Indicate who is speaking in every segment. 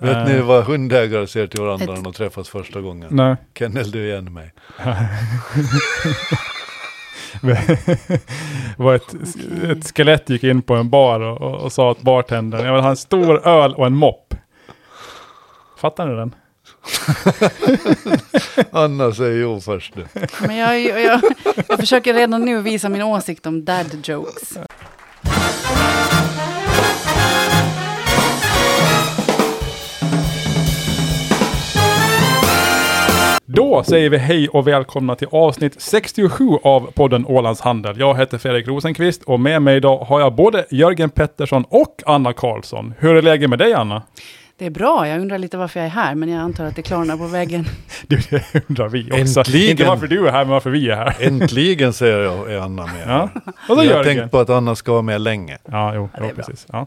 Speaker 1: Vet
Speaker 2: Eh.
Speaker 1: ni vad hundägare säger till varandra när de träffas första gången?
Speaker 2: Nej.
Speaker 1: Kennel, du igen mig.
Speaker 2: var ett, ett skelett gick in på en bar och, och, och sa åt bartendern, jag vill ha en stor öl och en mopp. Fattar ni den?
Speaker 1: Anna säger jo först nu.
Speaker 3: Men jag, jag, jag, jag försöker redan nu visa min åsikt om dad jokes.
Speaker 2: Då säger vi hej och välkomna till avsnitt 67 av podden Ålands Handel. Jag heter Fredrik Rosenqvist och med mig idag har jag både Jörgen Pettersson och Anna Karlsson. Hur är läget med dig Anna?
Speaker 3: Det är bra, jag undrar lite varför jag är här, men jag antar att det klarnar på vägen.
Speaker 2: Du, det undrar vi också.
Speaker 1: Äntligen.
Speaker 2: Inte varför du är här, men varför vi är här.
Speaker 1: Äntligen säger jag, är Anna med.
Speaker 2: Ja. Och så
Speaker 1: Jag har
Speaker 2: Jörgen.
Speaker 1: tänkt på att Anna ska vara med länge.
Speaker 2: Ja, jo,
Speaker 3: Ja, det
Speaker 2: ja,
Speaker 3: är bra.
Speaker 2: precis. Ja.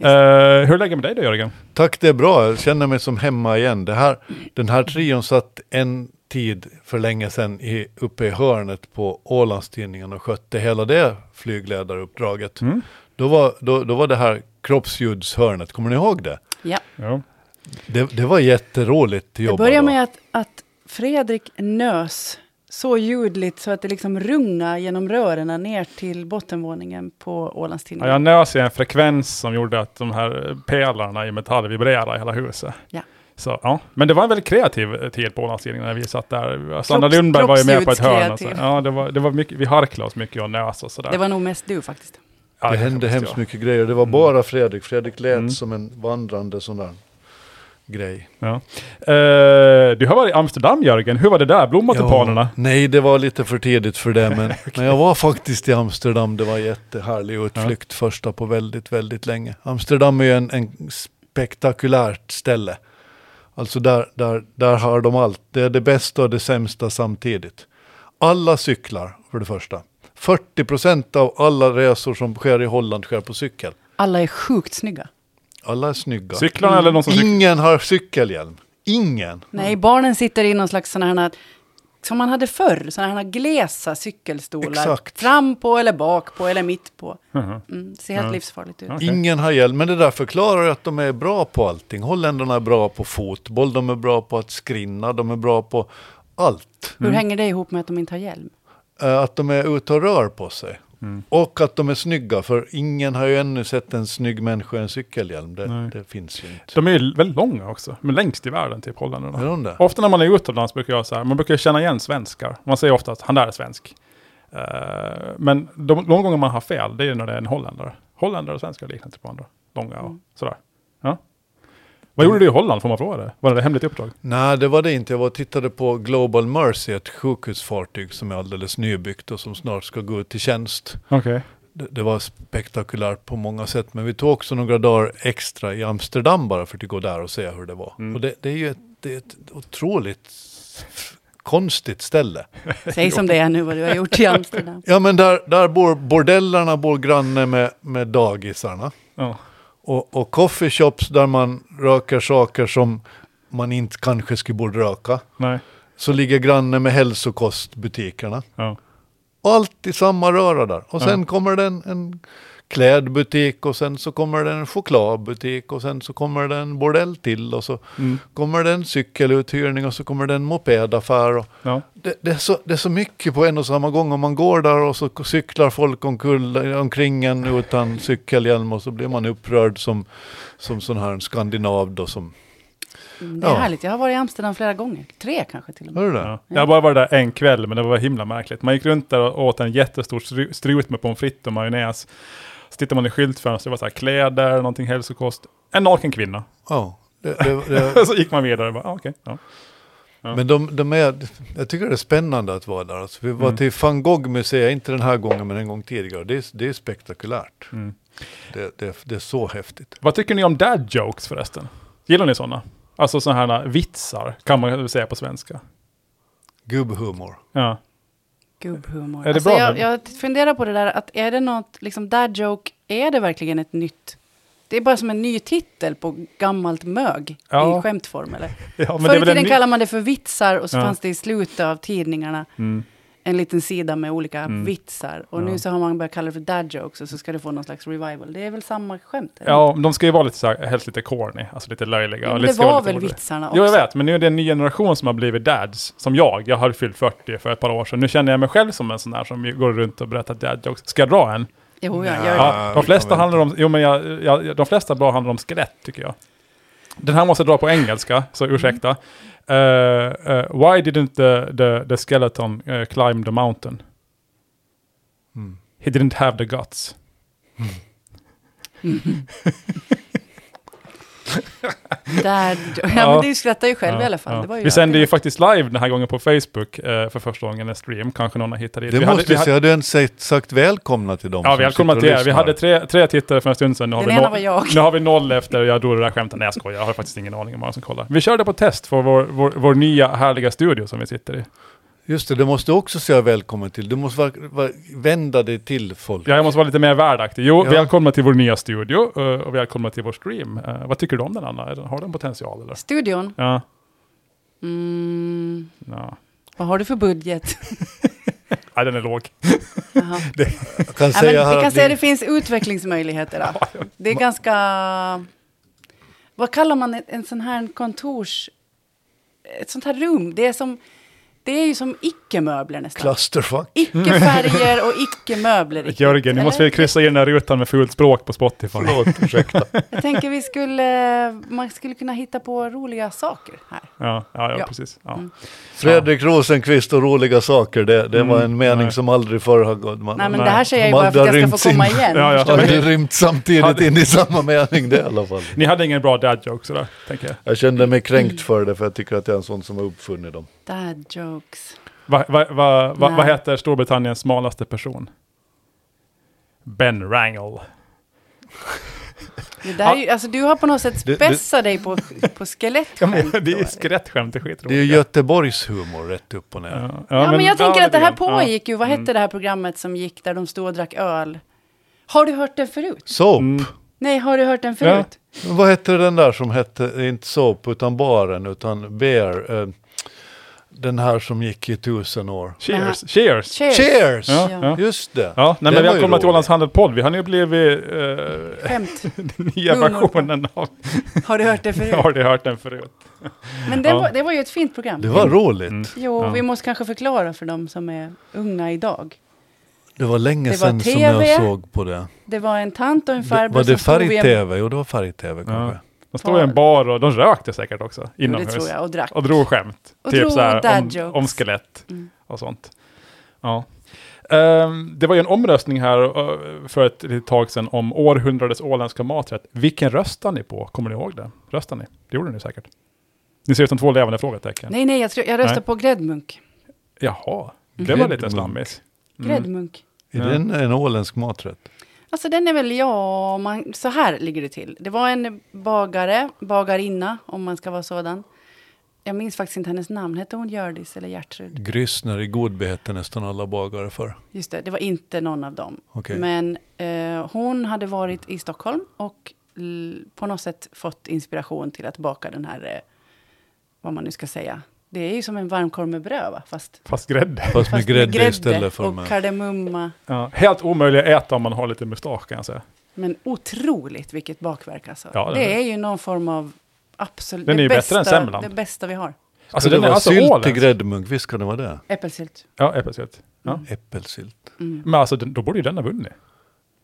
Speaker 2: Eh, hur är läget med dig då Jörgen?
Speaker 1: Tack, det är bra. Jag känner mig som hemma igen. Det här, den här trion satt en tid för länge sedan i, uppe i hörnet på Ålandstidningen och skötte hela det flygledaruppdraget.
Speaker 2: Mm.
Speaker 1: Då, var, då, då var det här kroppsljudshörnet, kommer ni ihåg det?
Speaker 3: Ja.
Speaker 2: Jo.
Speaker 1: Det, det var jätteroligt
Speaker 3: Det
Speaker 1: jobb.
Speaker 3: börjar med att, att Fredrik nös så ljudligt så att det liksom rungade genom rören ner till bottenvåningen på
Speaker 2: Ja,
Speaker 3: Ålandstidningen.
Speaker 2: jag nös i en frekvens som gjorde att de här pelarna i metall vibrerade i hela huset.
Speaker 3: Ja.
Speaker 2: Så, ja. Men det var en väldigt kreativ tid på Ålandstidningen när vi satt där. Sandra
Speaker 3: Kropps-
Speaker 2: Lundberg var ju med på ett hörn. Och så.
Speaker 3: kroppsljudskreativ.
Speaker 2: Ja, det var, det var mycket, vi harklade oss mycket och nös och sådär.
Speaker 3: Det var nog mest du faktiskt.
Speaker 2: ja,
Speaker 1: det hände
Speaker 2: visste
Speaker 1: hemskt
Speaker 2: jag.
Speaker 1: mycket grejer. Det var bara Fredrik. Fredrik lät
Speaker 2: Mm.
Speaker 1: som en vandrande sån där grej.
Speaker 2: Ja. Eh, du har varit i Amsterdam Jörgen, hur var det där? Blommat
Speaker 1: Ja,
Speaker 2: i panorna?
Speaker 1: Nej, det var lite för tidigt för det, men, men jag var faktiskt i Amsterdam. Det var jättehärlig utflykt, första på väldigt, väldigt länge. Amsterdam är ju en, en spektakulärt ställe. Alltså där, där, där har de allt. Det är det bästa och det sämsta samtidigt. Alla cyklar, för det första. 40 procent av alla resor som sker i Holland sker på cykel.
Speaker 3: Alla är sjukt snygga.
Speaker 1: Alla är snygga.
Speaker 2: Cyklarna eller någon som cyklade?
Speaker 1: Ingen har cykelhjälm. Ingen.
Speaker 3: Nej, barnen sitter i någon slags sådana här, som man hade förr, sådana här glesa cykelstolar.
Speaker 1: Exakt.
Speaker 3: Fram på eller bak på eller mitt på.
Speaker 2: Mhm.
Speaker 3: Mm, det ser helt livsfarligt ut.
Speaker 2: Okej.
Speaker 1: Ingen har hjälm, men det där förklarar ju att de är bra på allting. Holländarna är bra på fotboll, de är bra på att skrinna, de är bra på allt.
Speaker 2: Mm.
Speaker 3: Hur hänger det ihop med att de inte har hjälm?
Speaker 1: Eh, Att de är ute och rör på sig.
Speaker 2: Mm.
Speaker 1: Och att de är snygga, för ingen har ju ännu sett en snygg människa i en cykelhjälm. Det,
Speaker 2: Nej.
Speaker 1: det finns ju inte.
Speaker 2: De är ju väldigt långa också, men längst i världen typ holländarna.
Speaker 1: Är de det?
Speaker 2: Ofta när man är utomlands brukar jag så här, man brukar ju känna igen svenskar. Man säger ofta att han där är svensk. Eh, men de, de gånger man har fel, det är när det är en holländare. Holländare och svenskar liknar inte varandra. Långa och sådär. Ja. Vad gjorde du i Holland, får man fråga det? Var det ett hemligt uppdrag?
Speaker 1: Nej, det var det inte. Jag var och tittade på Global Mercy, ett sjukhusfartyg som är alldeles nybyggt och som snart ska gå ut i tjänst.
Speaker 2: Okej.
Speaker 1: det, det var spektakulärt på många sätt, men vi tog också några dagar extra i Amsterdam bara för att gå där och se hur det var. Och det, det är ju ett, det är ett otroligt konstigt ställe.
Speaker 3: Säg som det är nu vad du har gjort i Amsterdam.
Speaker 1: Ja, men där, där bor bordellerna bor granne med, med dagisarna.
Speaker 2: Ja.
Speaker 1: Och, och coffeeshops där man röker saker som man inte kanske skulle borde röka.
Speaker 2: Nej.
Speaker 1: Så ligger granne med hälsokostbutikerna.
Speaker 2: Ja.
Speaker 1: Allt i samma röra där. Och sen
Speaker 2: Ja.
Speaker 1: kommer det en, en klädbutik och sen så kommer det en chokladbutik och sen så kommer det en bordell till och så
Speaker 2: Mm.
Speaker 1: kommer det en cykeluthyrning och så kommer det en mopedaffär. Och
Speaker 2: Ja.
Speaker 1: det, det, är så, det är så mycket på en och samma gång och man går där och så cyklar folk omkull, omkring en utan cykelhjälm och så blir man upprörd som, som sån här en skandinav då som...
Speaker 3: Mm, Det är
Speaker 1: Ja.
Speaker 3: härligt. Jag har varit i Amsterdam flera gånger. Tre kanske till och med.
Speaker 1: Hör du det?
Speaker 2: Ja. Jag har bara varit där en kväll, men det var himla märkligt. Man gick runt där och åt en jättestor stru- strut med pommes frites och majonnäs. Så tittar man i skyltfönstret, det var så här kläder, någonting hälsokost. En naken kvinna.
Speaker 1: Ja, det, det, det,
Speaker 2: så gick man vidare och bara, ah, okej. Ja.
Speaker 1: Men de, de är, jag tycker det är spännande att vara där. Alltså, vi
Speaker 2: Mm.
Speaker 1: var till van Gogh-museet, inte den här gången men en gång tidigare. Det är, det är spektakulärt.
Speaker 2: Mm.
Speaker 1: Det, det, det är så häftigt.
Speaker 2: Vad tycker ni om dad jokes förresten? Gillar ni sådana? Alltså sådana här vitsar, kan man väl säga på svenska.
Speaker 1: Gubbhumor.
Speaker 2: Ja.
Speaker 3: Gubbhumor.
Speaker 2: det
Speaker 3: alltså
Speaker 2: bra,
Speaker 3: jag,
Speaker 2: men-
Speaker 3: jag funderar på det där, att är det något, liksom dad joke, är det verkligen ett nytt? Det är bara som en ny titel på gammalt mög
Speaker 2: Ja.
Speaker 3: i skämtform eller?
Speaker 2: ja men
Speaker 3: Förr i
Speaker 2: väl en
Speaker 3: tiden
Speaker 2: ny-
Speaker 3: kallade man det för vitsar och så
Speaker 2: Ja.
Speaker 3: fanns det i slutet av tidningarna. en liten sida med olika
Speaker 2: Mm.
Speaker 3: vitsar. Och
Speaker 2: Ja.
Speaker 3: nu så har man börjat kalla det för dad jokes och så ska det få någon slags revival. Det är väl samma skämt? eller?
Speaker 2: Ja, de ska ju vara lite så här, helst lite corny, alltså lite löjliga.
Speaker 3: Ja,
Speaker 2: och
Speaker 3: men
Speaker 2: lite-
Speaker 3: det
Speaker 2: ska vara
Speaker 3: var
Speaker 2: lite
Speaker 3: väl
Speaker 2: ordentligt.
Speaker 3: vitsarna också?
Speaker 2: Jo, jag vet, men nu är det en ny generation som har blivit dads, som jag. Jag har fyllt 40 för ett par år sedan. Nu känner jag mig själv som en sån där som ju går runt och berättar dad jokes. Ska jag dra en?
Speaker 3: Jo,
Speaker 1: Nej.
Speaker 3: jag gör det.
Speaker 2: Ja, de
Speaker 1: vi
Speaker 2: flesta
Speaker 1: kan
Speaker 2: handlar om, jo, men jag, jag, de flesta bra handlar om skelett, tycker jag. Den här måste jag dra på engelska,
Speaker 1: Mm.
Speaker 2: så ursäkta. Eh, eh, why didn't the, the, the skeleton eh, climb the mountain?
Speaker 1: Mm.
Speaker 2: He didn't have the guts.
Speaker 3: Dad jo- ja,
Speaker 2: Ja.
Speaker 3: men du skrattar ju själv
Speaker 2: Ja,
Speaker 3: i alla fall.
Speaker 2: ja.
Speaker 3: Det var ju
Speaker 2: vi sände ju
Speaker 3: alltid-
Speaker 2: faktiskt live den här gången på Facebook eh, för första gången en stream. Kanske någon har hittat dit.
Speaker 1: Det
Speaker 2: vi
Speaker 1: måste
Speaker 2: hade, vi
Speaker 1: jag
Speaker 2: hade,
Speaker 1: säga, du har inte sagt- sagt välkomna till dem
Speaker 2: Ja,
Speaker 1: som
Speaker 2: välkomna
Speaker 1: sitter och
Speaker 2: till er. Vi
Speaker 1: lyssnar.
Speaker 2: hade tre, tre tittare för en stund sedan. Nu har,
Speaker 3: Den
Speaker 2: vi
Speaker 3: ena
Speaker 2: noll,
Speaker 3: var jag.
Speaker 2: nu har vi noll efter jag drog det där skämtet. Nej, jag skojar. Jag har faktiskt ingen aning om vad som kollar. Vi körde på test för vår, vår, vår nya härliga studio som vi sitter i.
Speaker 1: Just det, det måste du också säga välkommen till. Du måste vara- vara- vända dig till folk.
Speaker 2: Ja, jag måste vara lite mer värdaktig. Jo,
Speaker 1: Ja.
Speaker 2: välkomna till vår nya studio eh, och välkomna till vår stream. Eh, vad tycker du om den, Anna? Är den- Har den potential, eller?
Speaker 3: Studion?
Speaker 2: Ja.
Speaker 3: Mm,
Speaker 2: ja.
Speaker 3: vad har du för budget?
Speaker 2: Nej, den är låg.
Speaker 3: Jaha.
Speaker 1: Jag kan
Speaker 3: Ja,
Speaker 1: säga
Speaker 3: men
Speaker 1: här
Speaker 3: vi kan
Speaker 1: att
Speaker 3: säga
Speaker 1: din,
Speaker 3: att det finns utvecklingsmöjligheter. Då. Det är ganska... Vad kallar man en, en sån här kontors... Ett sånt här rum. Det är, som, det är ju som icke-möbler nästan.
Speaker 1: clusterfuck.
Speaker 3: Icke-färger och icke-möbler. riktigt,
Speaker 2: Jörgen, nu
Speaker 3: eller?
Speaker 2: måste vi kryssa i den här rutan med fult språk på Spotify.
Speaker 1: Förlåt, ursäkta.
Speaker 3: Jag tänker vi skulle... Man skulle kunna hitta på roliga saker här.
Speaker 2: Ja, ja, ja,
Speaker 3: Ja.
Speaker 2: precis. Ja.
Speaker 3: Mm.
Speaker 1: Fredrik Rosenqvist och roliga saker, det, det var en mening
Speaker 2: Mm. nej.
Speaker 1: som aldrig förr har gått. Man,
Speaker 3: Nej, men
Speaker 2: Nej.
Speaker 3: det här säger jag ju
Speaker 1: De
Speaker 3: bara för att
Speaker 1: hade
Speaker 3: jag ska få
Speaker 1: rymt
Speaker 3: komma
Speaker 1: in.
Speaker 3: igen.
Speaker 2: Ja, ja.
Speaker 3: förstår
Speaker 1: har
Speaker 3: du?
Speaker 1: ju rymt samtidigt
Speaker 2: Hade-
Speaker 1: in i samma mening det i alla fall.
Speaker 2: Ni hade ingen bra dad joke sådär, tänker jag.
Speaker 1: Jag kände mig kränkt för det, för jag tycker att jag är en sån som har uppfunnit dem.
Speaker 3: Dad jokes.
Speaker 2: Va, va, va, va,
Speaker 3: Nej.
Speaker 2: vad heter Storbritanniens smalaste person? Ben Wrangle.
Speaker 3: Det där är ju, alltså, du har på något sätt
Speaker 1: Du- du-
Speaker 3: spessat dig på, på
Speaker 2: Ja, men,
Speaker 3: skelettskämt.
Speaker 2: det är
Speaker 3: då.
Speaker 2: ju skrattskämt, det är skitroligt.
Speaker 1: Det är ju Göteborgs humor rätt upp och ner.
Speaker 3: Ja, men, jag tänker att det här
Speaker 2: lite grann.
Speaker 3: pågick ju. Vad hette
Speaker 2: Mm.
Speaker 3: det här programmet som gick där de stod och drack öl? Har du hört den förut?
Speaker 1: Soap,
Speaker 2: Mm.
Speaker 3: Nej, har du hört den
Speaker 2: Ja.
Speaker 3: förut?
Speaker 1: Men vad hette den där som hette, inte Soap, utan baren, utan Bear. Eh, den här som gick i tusen år.
Speaker 2: Cheers, cheers.
Speaker 3: Cheers!
Speaker 1: Cheers!
Speaker 2: Ja,
Speaker 3: Ja.
Speaker 2: ja.
Speaker 1: Just det.
Speaker 2: ja nej,
Speaker 1: Den
Speaker 2: men
Speaker 1: var ju
Speaker 2: välkomna till
Speaker 1: rolig.
Speaker 2: Ålands Handelpodd. Vi har nu blivit eh,
Speaker 3: Skämt.
Speaker 2: den nya
Speaker 3: Humor.
Speaker 2: versionen av
Speaker 3: Har du hört det förut?
Speaker 2: Har du hört den förut?
Speaker 3: Men det
Speaker 2: Ja.
Speaker 3: var, det var ju ett fint program.
Speaker 1: Det var roligt.
Speaker 2: Mm.
Speaker 3: Jo,
Speaker 2: Ja.
Speaker 3: vi måste kanske förklara för de som är unga idag.
Speaker 1: Det var länge
Speaker 3: Det var
Speaker 1: sedan som jag
Speaker 3: TV.
Speaker 1: såg på det.
Speaker 3: Det var en tant och en
Speaker 1: det
Speaker 3: farbror
Speaker 1: var det
Speaker 3: som stod vid en...
Speaker 1: färg-tv? Jo, det var färg-tv kanske.
Speaker 2: De stod i en bar och de rökte säkert också
Speaker 3: Jo, Det
Speaker 2: inomhus.
Speaker 3: tror jag, och drack.
Speaker 2: Och drog skämt.
Speaker 3: Och
Speaker 2: typ
Speaker 3: drog
Speaker 2: så här,
Speaker 3: dad
Speaker 2: om,
Speaker 3: jokes.
Speaker 2: om skelett
Speaker 3: Mm.
Speaker 2: och sånt. Ja. Ehm, det var ju en omröstning här eh, för ett litet tag sedan om århundradets åländska maträtt. Vilken röstar ni på? Kommer ni ihåg det? Röstar ni? Det gjorde ni säkert. Ni ser ut som två levande frågetecken.
Speaker 3: Nej, nej, jag, tror, jag röstar
Speaker 2: Nej.
Speaker 3: på Gräddmunk.
Speaker 2: Jaha, det
Speaker 1: Mm.
Speaker 2: var lite
Speaker 1: Gräddmunk.
Speaker 2: slammis. Mm.
Speaker 3: Gräddmunk.
Speaker 1: Är
Speaker 2: Ja.
Speaker 1: det en, en åländsk maträtt?
Speaker 3: Alltså den är väl, ja, man, så här ligger det till. Det var en bagare, bagarinna, om man ska vara sådan. Jag minns faktiskt inte hennes namn. Hette hon Hjördis eller Gertrud?
Speaker 1: Grissner i Godby hette nästan alla bagare för.
Speaker 3: Just det, det var inte någon av dem.
Speaker 1: Okej.
Speaker 3: Men eh, hon hade varit i Stockholm och l- på något sätt fått inspiration till att baka den här, eh, vad man nu ska säga. Det är ju som en varmkorv med bröd, va? Fast,
Speaker 2: Fast grädde.
Speaker 1: Fast med
Speaker 3: fast
Speaker 1: grädde istället för
Speaker 3: och
Speaker 1: med.
Speaker 3: kardemumma.
Speaker 2: Ja. Helt omöjlig att äta om man har lite mustasch kan jag säga.
Speaker 3: Men otroligt vilket bakverk alltså.
Speaker 2: Ja, den
Speaker 3: det
Speaker 2: är-
Speaker 3: är ju någon form av absolut...
Speaker 2: Den
Speaker 3: det
Speaker 2: är ju bättre än
Speaker 3: bästa-
Speaker 2: semlan.
Speaker 3: Det bästa vi har.
Speaker 2: Alltså
Speaker 1: det
Speaker 2: den är
Speaker 1: var
Speaker 2: alltså
Speaker 1: sylt i
Speaker 2: åländsk.
Speaker 1: gräddmunk, visst kan det vara det?
Speaker 3: Äppelsylt.
Speaker 2: Ja, äppelsylt. Ja.
Speaker 1: Äppelsylt.
Speaker 3: Mm.
Speaker 2: Men alltså den, då borde ju den ha vunnit.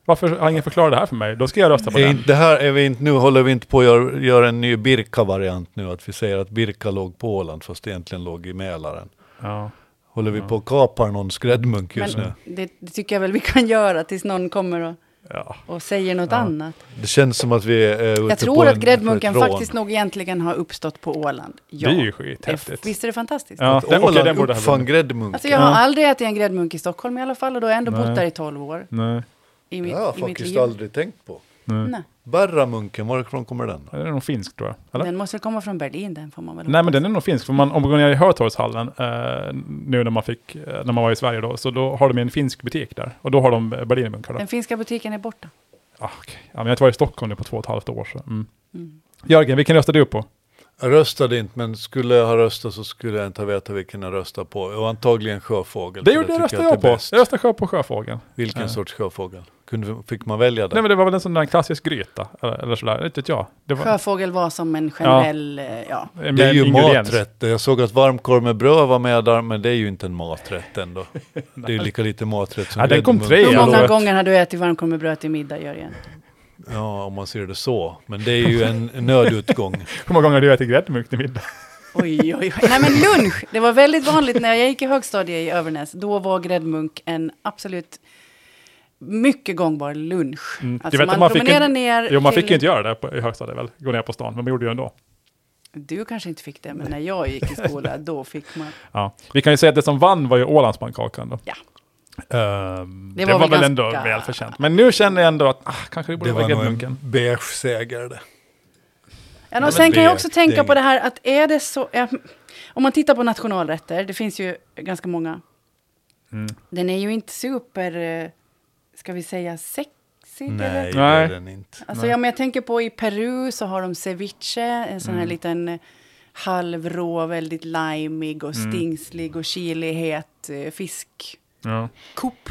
Speaker 2: Varför har ingen förklarat det här för mig? Då ska jag rösta på
Speaker 1: Är
Speaker 2: den.
Speaker 1: inte, det här är vi inte, nu håller vi inte på att göra, göra en ny Birka-variant nu, att vi säger att Birka låg på Åland fast egentligen låg i Mälaren.
Speaker 2: Ja.
Speaker 1: Håller vi på att kapar någons gräddmunk just nu?
Speaker 3: Men det, det tycker jag väl vi kan göra tills någon kommer och,
Speaker 2: Ja.
Speaker 3: och säger något
Speaker 2: Ja.
Speaker 3: annat.
Speaker 1: Det känns som att vi är eh, ute
Speaker 3: Jag
Speaker 1: på
Speaker 3: tror att
Speaker 1: en-
Speaker 3: gräddmunken
Speaker 1: ett rån.
Speaker 3: faktiskt nog egentligen har uppstått på Åland. Ja.
Speaker 2: Det är ju
Speaker 3: Det är-
Speaker 2: skithäftigt.
Speaker 3: Visst är det fantastiskt?
Speaker 2: Ja,
Speaker 1: Att
Speaker 2: den- okej,
Speaker 1: Åland
Speaker 2: den borde ha
Speaker 1: uppfann
Speaker 2: vunnit.
Speaker 1: gräddmunken.
Speaker 3: Alltså jag har
Speaker 2: Ja.
Speaker 3: aldrig ätit en gräddmunk i Stockholm i alla fall och då har jag ändå
Speaker 2: Nej.
Speaker 3: bott där i 12 år.
Speaker 2: Nej,
Speaker 3: I mitt,
Speaker 1: det har jag
Speaker 3: i mitt
Speaker 1: faktiskt
Speaker 3: liv.
Speaker 1: aldrig tänkt på.
Speaker 2: nej.
Speaker 3: Nej.
Speaker 1: Berramunken, varifrån kommer den?
Speaker 2: Den är nog finsk tror jag. Eller?
Speaker 3: Den måste väl komma från Berlin, den får man väl
Speaker 2: Nej, men
Speaker 3: hoppas.
Speaker 2: den är nog finsk. För man, om man går ner i Hötorgshallen eh, nu när man, fick, eh, när man var i Sverige då, så då har de en finsk butik där. Och då har de eh, berlinermunkar. då.
Speaker 3: den finska butiken är borta.
Speaker 2: Ah, okej. ja, men jag har inte varit i Stockholm nu på två och ett halvt år. Så. Mm.
Speaker 3: Mm.
Speaker 2: Jörgen, vilken röstar du på?
Speaker 1: Jag röstade inte, men skulle jag ha röstat så skulle jag inte ha vetat vilken jag röstade på. Och antagligen sjöfågel.
Speaker 2: Det
Speaker 1: för
Speaker 2: gjorde jag
Speaker 1: tycker
Speaker 2: röstade jag
Speaker 1: att det är
Speaker 2: på.
Speaker 1: bäst.
Speaker 2: Jag röstade sjö på sjöfågeln.
Speaker 1: Vilken
Speaker 2: Ja.
Speaker 1: sorts sjöfågel? Kunde, fick man välja det?
Speaker 2: Nej men det var väl en sån där klassisk gryta. Eller, eller sådär, inte vet jag. Det var
Speaker 3: Sjöfågel var som en generell, eh, ja.
Speaker 2: med
Speaker 1: det är ju
Speaker 2: ingrediens.
Speaker 1: maträtt. Jag såg att varmkorv med bröd var med där, men det är ju inte en maträtt ändå. Det är ju lika lite maträtt som
Speaker 2: Ja, den
Speaker 1: grädde
Speaker 2: kom
Speaker 1: i
Speaker 2: tre.
Speaker 1: munnen.
Speaker 3: Hur
Speaker 2: jag
Speaker 3: många
Speaker 2: vet.
Speaker 3: gånger har du ätit varmkorv med bröd till middag, Jörgen?
Speaker 1: Ja, om man ser det så. Men det är ju en nödutgång.
Speaker 2: Hur många gånger har du ätit gräddmunk till middag?
Speaker 3: Oj, oj, oj. Nej, men lunch! Det var väldigt vanligt när jag gick i högstadiet i Övernäs. Då var gräddmunk en absolut mycket gångbar lunch.
Speaker 2: Mm. Du
Speaker 3: Alltså
Speaker 2: vet att
Speaker 3: man,
Speaker 2: man fick
Speaker 3: promenerade
Speaker 2: en-
Speaker 3: ner
Speaker 2: Jo, man
Speaker 3: till...
Speaker 2: fick ju inte göra det på, i högstadiet väl? Gå ner på stan, men man gjorde ju ändå.
Speaker 3: Du kanske inte fick det, men när jag gick i skola, då fick man...
Speaker 2: Ja. Vi kan ju säga att det som vann var ju Ålandspannkakan då.
Speaker 3: Ja.
Speaker 2: Ehm,
Speaker 3: Det
Speaker 2: det,
Speaker 3: var
Speaker 2: var,
Speaker 3: väl
Speaker 2: väl ändå
Speaker 3: ganska-
Speaker 2: välförtjänt. Men nu känner jag ändå att ah, kanske det borde
Speaker 1: Det
Speaker 2: vara
Speaker 1: var nog
Speaker 2: gräddmunken.
Speaker 1: en beige seger det.
Speaker 3: Ja,
Speaker 1: men
Speaker 3: och sen kan jag
Speaker 1: det-
Speaker 3: också
Speaker 1: det är
Speaker 3: tänka på
Speaker 1: inget-
Speaker 3: det här att är det så... ja, om man tittar på nationalrätter, det finns ju ganska många.
Speaker 2: Mm.
Speaker 3: Den är ju inte super, eh, ska vi säga, sexig? eller?
Speaker 1: Nej, det
Speaker 2: Nej.
Speaker 1: är den inte.
Speaker 3: Alltså,
Speaker 2: Nej.
Speaker 3: ja, men jag tänker på i Peru så har de ceviche, en sån här
Speaker 2: Mm.
Speaker 3: liten eh, halvrå, väldigt limig och
Speaker 2: Mm.
Speaker 3: stingslig och chilihet eh, fisk.
Speaker 2: Ja.
Speaker 3: Kopp.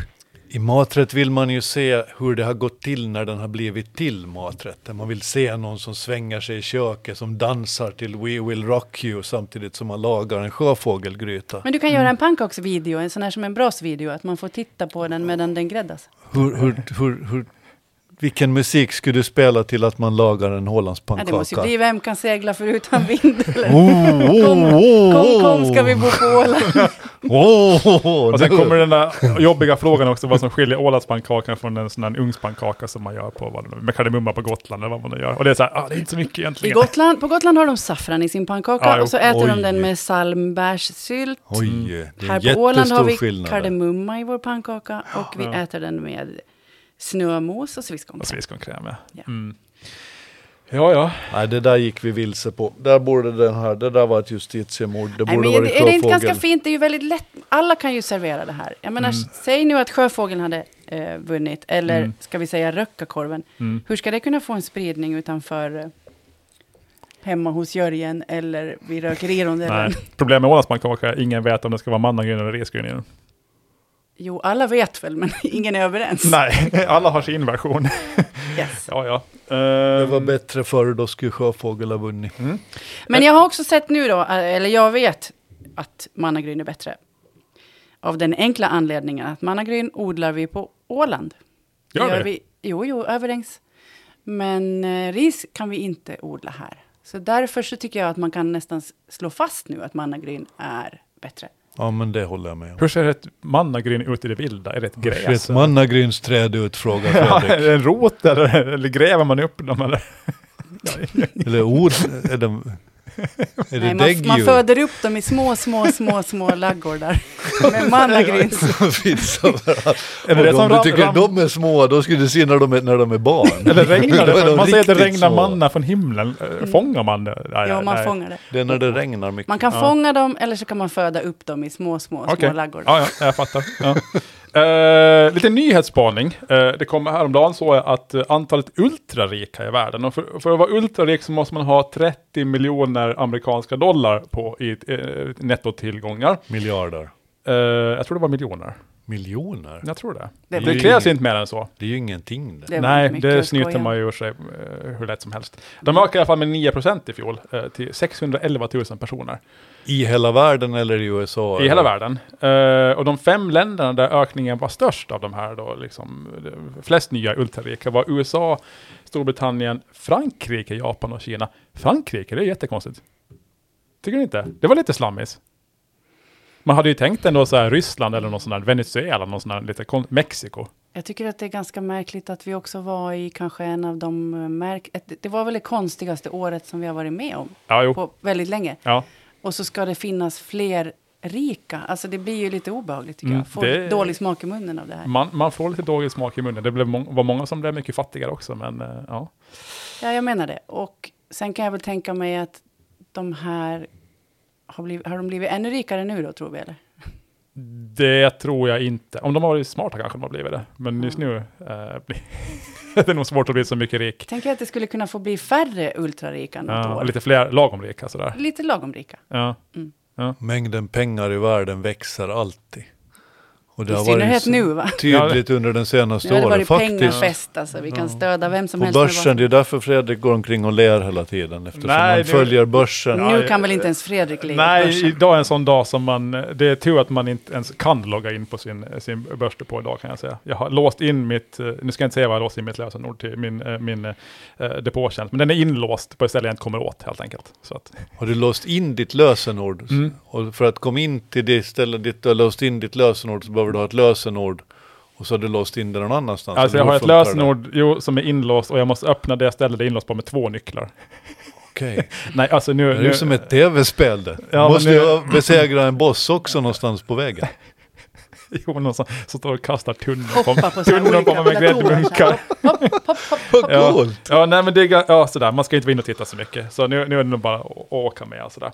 Speaker 1: I maträtt vill man ju se hur det har gått till när den har blivit till maträtten. Man vill se någon som svänger sig i köket, som dansar till We Will Rock You samtidigt som man lagar en sjöfågelgryta.
Speaker 3: Men du kan göra
Speaker 2: Mm.
Speaker 3: en pannkaksvideo, en sån här som en brasvideo, att man får titta på
Speaker 2: Mm.
Speaker 3: den medan den gräddas.
Speaker 1: Hur, hur, hur, hur, vilken musik skulle du spela till att man lagar en
Speaker 3: Ja, det måste ju
Speaker 1: Ålandspannkaka?
Speaker 3: bli Vem kan segla förutan vind? Eller?
Speaker 1: Oh,
Speaker 3: Kom,
Speaker 1: oh, oh,
Speaker 3: kom, kom, ska vi bo på Åland?
Speaker 1: Oh, oh, oh,
Speaker 2: Och sen
Speaker 1: nu.
Speaker 2: kommer den där jobbiga frågan också, vad som skiljer Ålandspannkakan från en sån här ugnspannkaka som man gör på vad det nu- med kardemumma på Gotland eller vad man nu gör. Och det är så här, ah, det är inte så mycket
Speaker 3: I
Speaker 2: egentligen.
Speaker 3: Gotland, på Gotland har de saffran i sin pannkaka
Speaker 2: Ja, jo.
Speaker 3: och så äter de
Speaker 1: Oj.
Speaker 3: den med salmbärssylt.
Speaker 1: Oj,
Speaker 2: Mm.
Speaker 1: det är en
Speaker 3: Här på Åland har
Speaker 1: jättestor
Speaker 3: vi
Speaker 1: skillnad. där.
Speaker 3: kardemumma i vår pannkaka och vi
Speaker 2: Ja.
Speaker 3: äter den med snömos och sviskon.
Speaker 2: Och sviskonkräm,
Speaker 3: Ja.
Speaker 2: ja. Mm. Ja, ja.
Speaker 1: Nej, det där gick vi vilse på. Där borde den här, det där var ett justitiemord. Det
Speaker 3: Nej,
Speaker 1: borde
Speaker 3: men
Speaker 1: varit
Speaker 3: är det inte
Speaker 1: sjöfågel.
Speaker 3: ganska fint? Det är ju väldigt lätt. Alla kan ju servera det här. Jag menar, säg nu att sjöfågeln hade eh, vunnit, eller
Speaker 2: Mm.
Speaker 3: ska vi säga röckakorven.
Speaker 2: Mm.
Speaker 3: Hur ska det kunna få en spridning utanför eh, hemma hos Jörgen eller vid rökerirondellen?
Speaker 2: Nej. Problemet med Ålandspannkaka är att ingen vet om det ska vara mannagryn eller resgryn i den.
Speaker 3: Jo, alla vet väl, men ingen är överens.
Speaker 2: Nej, alla har sin version.
Speaker 3: Yes.
Speaker 2: Ja, ja. Ehm,
Speaker 1: Det var bättre förr, då skulle sjöfågel ha vunnit.
Speaker 2: Mm.
Speaker 3: Men jag har också sett nu då, eh, eller jag vet att mannagryn är bättre. Av den enkla anledningen att mannagryn odlar vi på Åland. Det
Speaker 2: Gör vi?
Speaker 3: Jo, jo, överängs. Men eh, ris kan vi inte odla här. Så därför så tycker jag att man kan nästan s- slå fast nu att mannagryn är bättre.
Speaker 1: Ja, men det håller jag med om.
Speaker 2: Hur ser ett mannagryn ut i det vilda? Är det ett
Speaker 1: Hur ser ett
Speaker 2: gräs?
Speaker 1: mannagrynsträd ut, frågar
Speaker 2: alltså. Ja,
Speaker 1: Fredrik.
Speaker 2: är det en rot eller, eller gräver man upp dem? Eller? Ja,
Speaker 1: Eller ord, är det, är det
Speaker 3: Nej, man, f- man
Speaker 1: däggdjur?
Speaker 3: föder upp dem i små, små, små, små laggårdar med mannagryns.
Speaker 1: som finns överallt.
Speaker 2: Är det
Speaker 1: Och
Speaker 2: det
Speaker 1: om
Speaker 2: som
Speaker 1: du
Speaker 2: ram-
Speaker 1: tycker
Speaker 2: ram-
Speaker 1: de är små, då skulle du se när de är, när de är barn.
Speaker 2: Eller regnar
Speaker 1: Då är
Speaker 2: det?
Speaker 1: de
Speaker 2: Man säger att det
Speaker 1: riktigt
Speaker 2: regnar
Speaker 1: små.
Speaker 2: manna från himlen. Eh, Fångar man det? Nej,
Speaker 3: Mm. Ja, man
Speaker 2: nej.
Speaker 3: fångar det.
Speaker 1: Det är när det regnar mycket.
Speaker 3: Man kan
Speaker 2: Ja.
Speaker 3: fånga dem eller så kan man föda upp dem i små, små,
Speaker 2: Okej.
Speaker 3: små laggårdar.
Speaker 2: Ja, ja, jag fattar. Ja. Eh, lite nyhetsspaning. Eh, det kommer häromdagen såg jag att eh, antalet ultrarika i världen, och för, för att vara ultrarik så måste man ha 30 miljoner amerikanska dollar på, i uh, nettotillgångar.
Speaker 1: Miljarder.
Speaker 2: Eh, jag tror det var miljoner.
Speaker 1: Miljoner?
Speaker 2: Jag tror det.
Speaker 3: Det
Speaker 2: Det,
Speaker 3: är
Speaker 2: krävs
Speaker 1: ju-
Speaker 2: inte mer än så.
Speaker 1: Det är ju ingenting det.
Speaker 3: Det var
Speaker 2: Nej,
Speaker 3: mycket
Speaker 2: det
Speaker 3: att skoja
Speaker 2: snyter
Speaker 3: om.
Speaker 2: man ju ur sig eh, hur lätt som helst. De ökade i alla fall med 9% i fjol eh, till 611 000 personer
Speaker 1: I hela världen eller i USA?
Speaker 2: i
Speaker 1: eller?
Speaker 2: hela världen. Eh, och de fem länderna där ökningen var störst av de här då, liksom, eh, flest nya ultrarika var USA, Storbritannien, Frankrike, Japan och Kina. Frankrike, det är jättekonstigt. Tycker ni inte? Det var lite slammis. Man hade ju tänkt ändå så här Ryssland eller någon sån här Venezuela, någon sån här lite kon- Mexiko.
Speaker 3: Jag tycker att det är ganska märkligt att vi också var i kanske en av de eh, märk... ett- Det var väl det konstigaste året som vi har varit med om
Speaker 2: Ja, jo.
Speaker 3: på väldigt länge.
Speaker 2: Ja.
Speaker 3: Och så ska det finnas fler rika. Alltså det blir ju lite obehagligt tycker
Speaker 2: Mm,
Speaker 3: jag. Får
Speaker 2: det-
Speaker 3: dålig smak i munnen av det här.
Speaker 2: Man, man får lite dålig smak i munnen. Det blev mång- var många som blev mycket fattigare också, men eh, ja.
Speaker 3: Ja, jag menar det. Och sen kan jag väl tänka mig att de här... Har, blivit, har de blivit ännu rikare nu då, tror vi? Eller?
Speaker 2: Det tror jag inte. Om de har varit smarta kanske de har blivit det. Men just nu eh, blir det är nog svårt att bli så mycket rik.
Speaker 3: Tänker att det skulle kunna få bli färre ultrarika något
Speaker 2: Ja, och
Speaker 3: år.
Speaker 2: lite fler lagom rika sådär.
Speaker 3: Lite lagom rika.
Speaker 2: Ja.
Speaker 1: Mängden pengar i världen växer alltid. Och
Speaker 3: I synnerhet
Speaker 1: så
Speaker 3: nu va?
Speaker 1: tydligt under den senaste
Speaker 3: Nu har det
Speaker 1: åren
Speaker 3: varit
Speaker 1: faktiskt.
Speaker 3: pengafest alltså. Vi kan stödja vem som
Speaker 1: På
Speaker 3: helst. med
Speaker 1: börsen, det är därför Fredrik går omkring och ler hela tiden. Eftersom
Speaker 2: Nej,
Speaker 1: han
Speaker 2: det-
Speaker 1: följer
Speaker 3: vad-
Speaker 1: börsen.
Speaker 3: Nu kan väl inte ens Fredrik ligga på
Speaker 2: Nej,
Speaker 3: börsen?
Speaker 2: idag är en sån dag som man... eh, Det är tur att man inte ens kan logga in på sin, eh, sin börsdepå idag kan jag säga. Jag har låst in mitt... eh, Nu ska jag inte säga vad jag har låst in mitt lösenord till, min, eh, min eh, depåtjänst. Men den är inlåst på ett ställe jag inte kommer åt helt enkelt. Så att,
Speaker 1: Har du låst in ditt lösenord?
Speaker 2: Mm.
Speaker 1: Och för att komma in till det stället dit du har låst in ditt lösenord så behöver du ha ett lösenord. Och så har du låst in det någon annanstans.
Speaker 2: alltså jag
Speaker 1: Eller
Speaker 2: har
Speaker 1: hur
Speaker 2: ett
Speaker 1: funkar det?
Speaker 2: lösenord jo, som är inlåst och jag måste öppna det stället det är inlåst på med två nycklar.
Speaker 1: Okej.
Speaker 2: Nej, alltså nu...
Speaker 1: Det är ju
Speaker 2: nu
Speaker 1: som ett tv-spel det.
Speaker 2: Ja,
Speaker 1: Måste
Speaker 2: men nu-
Speaker 1: jag besegra en boss också någonstans på vägen?
Speaker 2: Jonas som, som står och kastar tunnor på,
Speaker 3: Hoppa på så här
Speaker 2: tunnor på
Speaker 3: olika
Speaker 2: mig med
Speaker 3: datorer. så
Speaker 2: gräddmunkar.
Speaker 3: här. Hopp, hopp, hopp, hopp.
Speaker 1: Vad
Speaker 2: Ja,
Speaker 1: coolt!
Speaker 2: ja, nej men det är, ga- ja, sådär, man ska inte vara inne och titta så mycket. Så nu, nu är det nog bara att å- åka med. Sådär.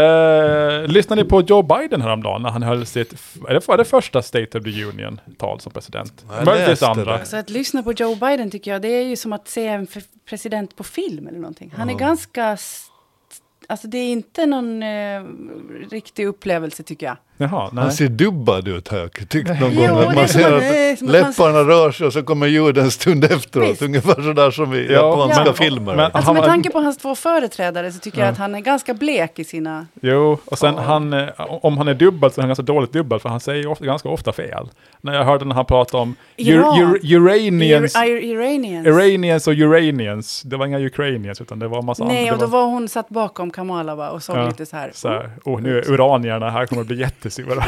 Speaker 2: Eh, lyssnade ni på Joe Biden häromdagen när han höll sitt, f- är det, var det första State of the Union-tal som president?
Speaker 1: Jag
Speaker 2: Möjligtvis
Speaker 1: läste
Speaker 2: andra.
Speaker 1: det.
Speaker 3: Så att lyssna på Joe Biden tycker jag, det är ju som att se en f- president på film eller någonting. Han är ganska... s- Alltså det är inte någon eh, riktig upplevelse tycker jag.
Speaker 2: Jaha, nej.
Speaker 1: Han ser dubbad ut har jag tyckt någon
Speaker 3: Jo,
Speaker 1: gång.
Speaker 3: det
Speaker 1: Att
Speaker 3: är
Speaker 1: man
Speaker 3: som
Speaker 1: ser
Speaker 3: att- det är
Speaker 1: att
Speaker 3: som att man-
Speaker 1: läpparna rör sig och så kommer ljud en stund efteråt.
Speaker 3: Visst.
Speaker 1: Ungefär sådär som i
Speaker 2: Ja,
Speaker 1: japanska
Speaker 3: men-
Speaker 1: filmer.
Speaker 2: men-
Speaker 3: Alltså med
Speaker 2: Han var-
Speaker 3: tanke på hans två företrädare så tycker jag att han är ganska blek i sina...
Speaker 2: Jo, och sen han, eh, om han är dubbel så är han ganska dåligt dubbel för han säger ju ofta, ganska ofta fel. När jag hörde när han pratade om
Speaker 3: Iran.
Speaker 2: ur, ur, Uranians,
Speaker 3: Ir- Ir- Iranians.
Speaker 2: Iranians och Uranians, det var inga Ukrainians utan det var en massa
Speaker 3: Nej,
Speaker 2: andra.
Speaker 3: och då var hon satt bakom Kamala va, och såg
Speaker 2: Ja,
Speaker 3: lite så här.
Speaker 2: Så här, oh, nu är uranierna här, kommer att bli jättesura.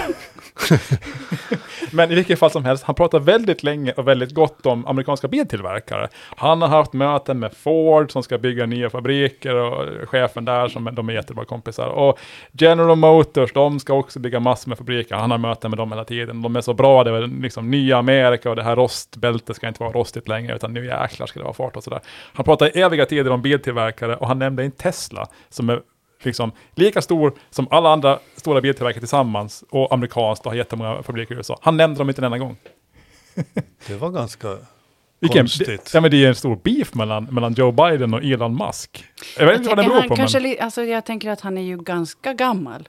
Speaker 2: Men i vilket fall som helst, han pratar väldigt länge och väldigt gott om amerikanska biltillverkare. Han har haft möten med Ford som ska bygga nya fabriker och chefen där som de är jättebra kompisar. Och General Motors, de ska också bygga massor med fabriker. Han har möten med dem hela tiden. De är så bra, det är väl liksom nya Amerika och det här rostbältet ska inte vara rostigt längre utan nu jäklar ska det vara fart och sådär. Han pratar i eviga tider om biltillverkare och han nämnde en Tesla som är liksom lika stor som alla andra stora biltillverkare tillsammans och amerikanskt och har jättemånga fabriker i USA. Han nämnde dem inte en enda gång.
Speaker 1: Det var ganska
Speaker 2: Vilken, det,
Speaker 1: konstigt.
Speaker 2: ja, men det är en stor beef mellan, mellan Joe Biden och Elon Musk. Jag vet inte vad den
Speaker 3: Jag, tänker,
Speaker 2: beror
Speaker 3: han
Speaker 2: på,
Speaker 3: kanske,
Speaker 2: men
Speaker 3: li- alltså, jag tänker att han är ju ganska gammal.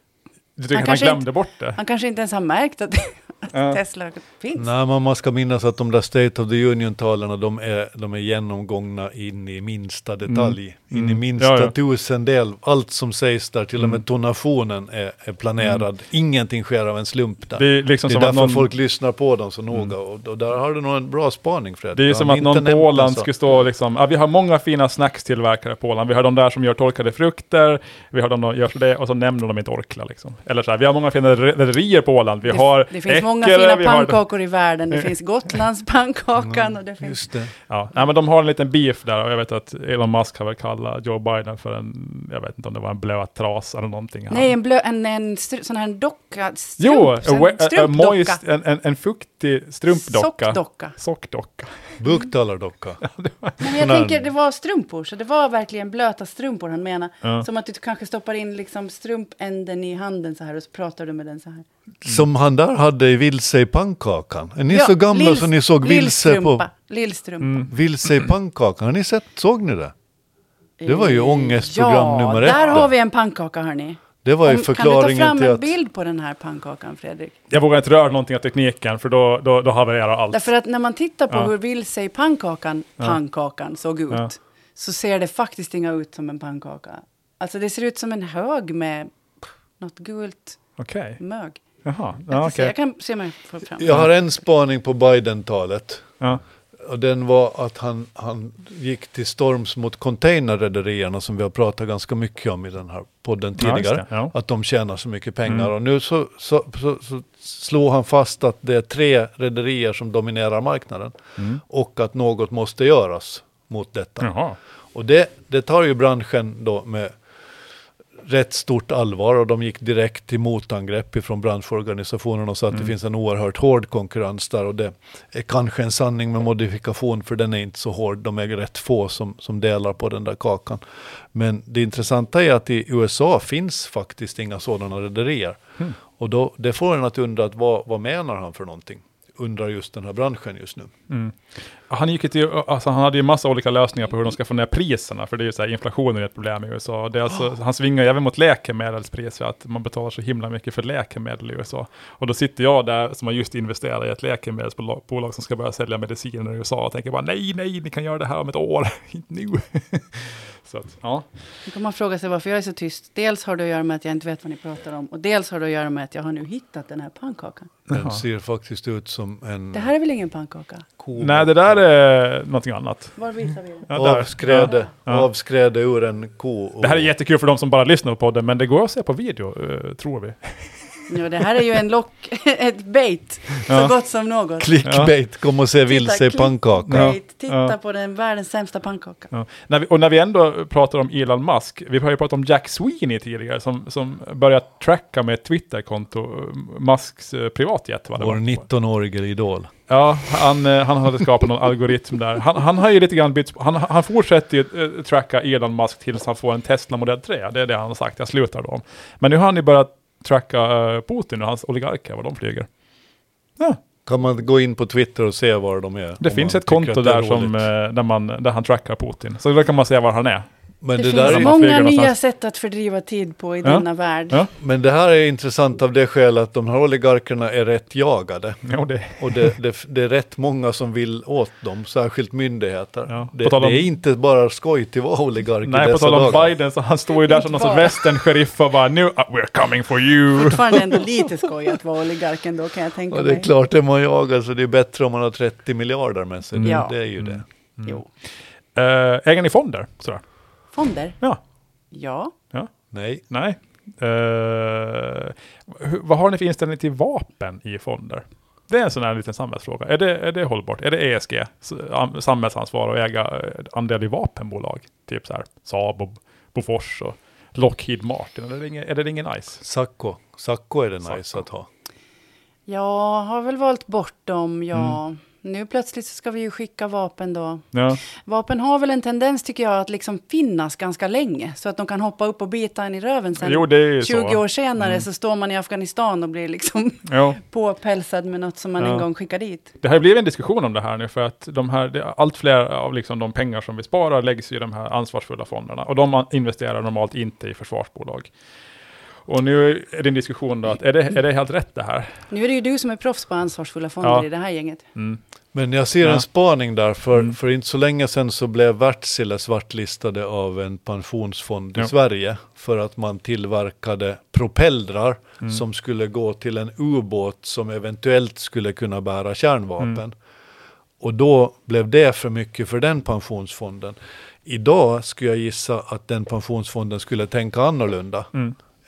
Speaker 2: du tycker
Speaker 3: han
Speaker 2: att han
Speaker 3: kanske
Speaker 2: glömde
Speaker 3: inte-
Speaker 2: bort det.
Speaker 3: Han kanske inte ens har märkt att, att
Speaker 2: Ja.
Speaker 3: Tesla finns.
Speaker 1: Nej, men man ska minnas att de där State of the Union-talen, de är, de är genomgångna in i minsta detalj. In i minsta
Speaker 2: Mm. Ja, Mm. ja.
Speaker 1: tusendel. Allt som sägs där, till och med tonationen är, är planerad. Ingenting sker av en slump där.
Speaker 2: Mm. Det är liksom
Speaker 1: det är
Speaker 2: som att
Speaker 1: därför
Speaker 2: någon- Mm.
Speaker 1: folk lyssnar på dem så noga. Och, och där har du nog en bra spaning Fredrik.
Speaker 2: Det är
Speaker 1: Du
Speaker 2: som
Speaker 1: har
Speaker 2: att
Speaker 1: inte
Speaker 2: någon på
Speaker 1: nämnt
Speaker 2: Åland
Speaker 1: massa.
Speaker 2: skulle stå och liksom, ja, vi har många fina snackstillverkare på Åland. Vi har de där som gör torkade frukter, vi har de som gör så det, och så nämner de inte Orkla liksom. Eller så här, vi har många fina re- rederier på Åland. Vi
Speaker 3: det,
Speaker 2: har
Speaker 3: det finns många
Speaker 2: Eckerö,
Speaker 3: fina
Speaker 2: vi har- Eh.
Speaker 3: pannkakor i världen. Det finns Gotlandspannkakan och det finns...
Speaker 1: Just det.
Speaker 2: Ja, nej, men de har en liten beef där och jag vet att Elon Musk har väl kallat Joe Biden för en, jag vet inte om det var en blöt trasa eller någonting. Han-
Speaker 3: Nej, en, blö, en, en stru, sån här docka. Strump,
Speaker 2: Jo,
Speaker 3: sån-
Speaker 2: a we- a- a
Speaker 3: strumpdocka.
Speaker 2: moist- en, en, en fuktig strumpdocka.
Speaker 3: Sockdocka.
Speaker 2: Sockdocka.
Speaker 1: Buktalardocka.
Speaker 3: Men jag
Speaker 1: Sån här-
Speaker 3: tänker, det var strumpor, så det var verkligen blöta strumpor han menar.
Speaker 2: Ja.
Speaker 3: Som att du kanske stoppar in liksom strumpänden i handen så här och så pratar du med den så här.
Speaker 1: Som han där hade i Vilse i pannkakan. Är ni så gamla
Speaker 3: lill-
Speaker 1: så ni såg Vilse på...
Speaker 3: lillstrumpa, Lillstrumpa.
Speaker 2: Mm.
Speaker 1: Vilse i pannkakan, har ni sett, såg ni det? Det var ju ångestprogram
Speaker 3: Ja,
Speaker 1: nummer ett.
Speaker 3: där
Speaker 1: då.
Speaker 3: har vi en pannkaka hörni.
Speaker 1: Det var ju
Speaker 3: Om- Kan du ta
Speaker 1: förklaringen
Speaker 3: fram
Speaker 1: till
Speaker 3: en
Speaker 1: att...
Speaker 3: bild på den här pannkakan Fredrik?
Speaker 2: Jag vågar inte röra någonting av tekniken för då, då, då havererar allt.
Speaker 3: Därför att när man tittar på
Speaker 2: Ja.
Speaker 3: hur vilse i pannkakan, pannkakan såg ut,
Speaker 2: Ja.
Speaker 3: så ser det faktiskt inga ut som en pannkaka. Alltså det ser ut som en hög med pff, något gult
Speaker 2: Okej,
Speaker 3: mög.
Speaker 2: jaha.
Speaker 3: Jag,
Speaker 2: Ja,
Speaker 3: ska se,
Speaker 2: okej.
Speaker 3: jag kan se om jag får fram.
Speaker 1: Jag har en spaning på Biden-talet.
Speaker 2: Ja.
Speaker 1: Och den var att han, han gick till storms mot containerrederierna som vi har pratat ganska mycket om i den här podden
Speaker 2: Ja,
Speaker 1: tidigare.
Speaker 2: just det, ja. Mm.
Speaker 1: Att de tjänar så mycket pengar. Och nu så, så, så, så slår han fast att det är tre rederier som dominerar marknaden.
Speaker 2: Mm.
Speaker 1: Och att något måste göras mot detta.
Speaker 2: Jaha.
Speaker 1: Och det, det tar ju branschen då med rätt stort allvar och de gick direkt till motangrepp ifrån branschorganisationen och sa att
Speaker 2: Mm.
Speaker 1: det finns en oerhört hård konkurrens där och det är kanske en sanning med modifikation för den är inte så hård, de är rätt få som, som delar på den där kakan.
Speaker 2: Hmm.
Speaker 1: Men det intressanta är att i USA finns faktiskt inga sådana rederier. Och då, det får en att undra att vad, vad menar han för någonting? Undrar just den här branschen just nu.
Speaker 2: Mm. Han, gick ju till, alltså han hade ju massa olika lösningar på hur de ska få ner priserna, för det är ju så här, inflationen är ett problem i USA. Det är alltså, Han svingar ju även mot läkemedelspriser, att man betalar så himla mycket för läkemedel i USA. Och då sitter jag där som har just investerat i ett läkemedelsbolag bolag som ska börja sälja mediciner i USA och tänker bara nej, nej, ni kan göra det här om ett år, inte nu. så att, ja.
Speaker 3: Då kan man fråga sig varför jag är så tyst. Dels har det att göra med att jag inte vet vad ni pratar om och dels har det att göra med att jag har nu hittat den här pannkakan.
Speaker 1: Den
Speaker 2: Jaha.
Speaker 1: ser faktiskt ut som en
Speaker 3: Det här är väl ingen pannkaka?
Speaker 1: ko
Speaker 2: Nej, det där är någonting annat.
Speaker 3: Var visar vi den?
Speaker 2: Ja, där.
Speaker 1: avskräde,
Speaker 2: Ja.
Speaker 1: avskräde ur en ko. och-
Speaker 2: Det här är jättekul för de som bara lyssnar på podden, men det går att se på video, eh, tror vi.
Speaker 3: Ja, det här är ju en lock, ett bait,
Speaker 2: Ja.
Speaker 3: så gott som något.
Speaker 1: Clickbait, kom och se vilse i
Speaker 3: klick-
Speaker 1: pannkaka.
Speaker 2: Ja.
Speaker 3: Bait, titta
Speaker 2: Ja.
Speaker 3: på den världens sämsta pannkaka.
Speaker 2: Ja. När vi, och när vi ändå pratar om Elon Musk, vi har ju pratat om Jack Sweeney tidigare som, som börjat tracka med ett Twitterkonto, eh, Musks eh, privatjet. va, det
Speaker 1: Vår
Speaker 2: var.
Speaker 1: 19-årige idol.
Speaker 2: Ja, han, eh, han hade skapat någon algoritm där. Han, han har ju lite grann bytt, han, han fortsätter ju eh, tracka Elon Musk tills han får en Tesla Model 3, det är det han har sagt, jag slutar då. Men nu har han ju börjat tracka eh, Putin och hans oligarker, vad de flyger. Ja.
Speaker 1: Kan man gå in på Twitter och se var de är?
Speaker 2: Det
Speaker 1: om
Speaker 2: finns
Speaker 1: man
Speaker 2: ett
Speaker 1: tycker
Speaker 2: konto
Speaker 1: att det är
Speaker 2: där, som,
Speaker 1: roligt?
Speaker 2: eh, där, man, där han trackar Putin. Så där kan man se var han är.
Speaker 1: Men
Speaker 3: Det,
Speaker 1: det, där
Speaker 3: finns
Speaker 1: är,
Speaker 2: man flyger
Speaker 3: många nya
Speaker 2: någonstans.
Speaker 3: sätt att fördriva tid på i
Speaker 2: Ja.
Speaker 3: denna värld.
Speaker 2: Ja.
Speaker 1: men det här är intressant av det skälet att de här oligarkerna är rätt jagade.
Speaker 2: Jo, det,
Speaker 1: Och det, det, det är rätt många som vill åt dem, särskilt myndigheter.
Speaker 2: Ja, på
Speaker 1: Det,
Speaker 2: tal om-
Speaker 1: det är inte bara skoj till att vara oligark i
Speaker 2: nej, på
Speaker 1: dessa
Speaker 2: tal om
Speaker 1: dagar.
Speaker 2: Biden, så han står ju där som någon sorts
Speaker 3: Bara.
Speaker 2: västernsheriff och bara nu, uh, we're coming for you.
Speaker 3: Fortfarande ändå lite skoj att vara oligarken då kan jag tänka
Speaker 1: Ja,
Speaker 3: mig.
Speaker 1: det är klart, är man jagad så det är bättre om man har 30 miljarder med sig.
Speaker 2: Mm.
Speaker 3: Ja.
Speaker 1: Det, det är ju det.
Speaker 3: Jo.
Speaker 2: Eh, äger ni fonder? Sådär.
Speaker 3: Fonder?
Speaker 2: Ja,
Speaker 3: Ja.
Speaker 2: ja,
Speaker 1: Nej,
Speaker 2: nej. Eh, hur- vad har ni för inställning till vapen i fonder? Det är en sån här liten samhällsfråga. Är det, är det hållbart? Är det ESG, s- am- samhällsansvar att äga eh, andel i vapenbolag? Typ så här Saab och Bofors och Lockheed Martin. Är det ingen, är det ingen nice?
Speaker 1: Sacco. Sacco är det nice
Speaker 2: Sacco.
Speaker 1: att ha.
Speaker 3: Jag har väl valt bort dem, ja. Nu plötsligt så ska vi ju skicka vapen då.
Speaker 2: Ja.
Speaker 3: Vapen har väl en tendens tycker jag att liksom finnas ganska länge. Så att de kan hoppa upp och bita en i röven sen.
Speaker 2: Jo, det är ju
Speaker 3: 20
Speaker 2: så.
Speaker 3: år senare så står man i Afghanistan och blir liksom
Speaker 2: Ja.
Speaker 3: påpälsad med något som man
Speaker 2: Ja.
Speaker 3: en gång skickade dit.
Speaker 2: Det har ju blivit en diskussion om det här nu, för att de här, det, allt fler av liksom de pengar som vi sparar läggs ju i de här ansvarsfulla fonderna, och de an- investerar normalt inte i försvarsbolag. Och nu är det en diskussion då, att är det, är det helt rätt det här?
Speaker 3: Nu är det ju du som är proffs på ansvarsfulla fonder
Speaker 2: Ja.
Speaker 3: i det här gänget.
Speaker 1: Men jag ser
Speaker 2: Ja.
Speaker 1: en spaning där, för,
Speaker 2: Mm.
Speaker 1: för inte så länge sedan så blev Wärtsilä svartlistade av en pensionsfond i
Speaker 2: Ja.
Speaker 1: Sverige för att man tillverkade propellrar
Speaker 2: Mm.
Speaker 1: som skulle gå till en ubåt som eventuellt skulle kunna bära kärnvapen.
Speaker 2: Mm.
Speaker 1: Och då blev det för mycket för den pensionsfonden. Idag skulle jag gissa att den pensionsfonden skulle tänka annorlunda.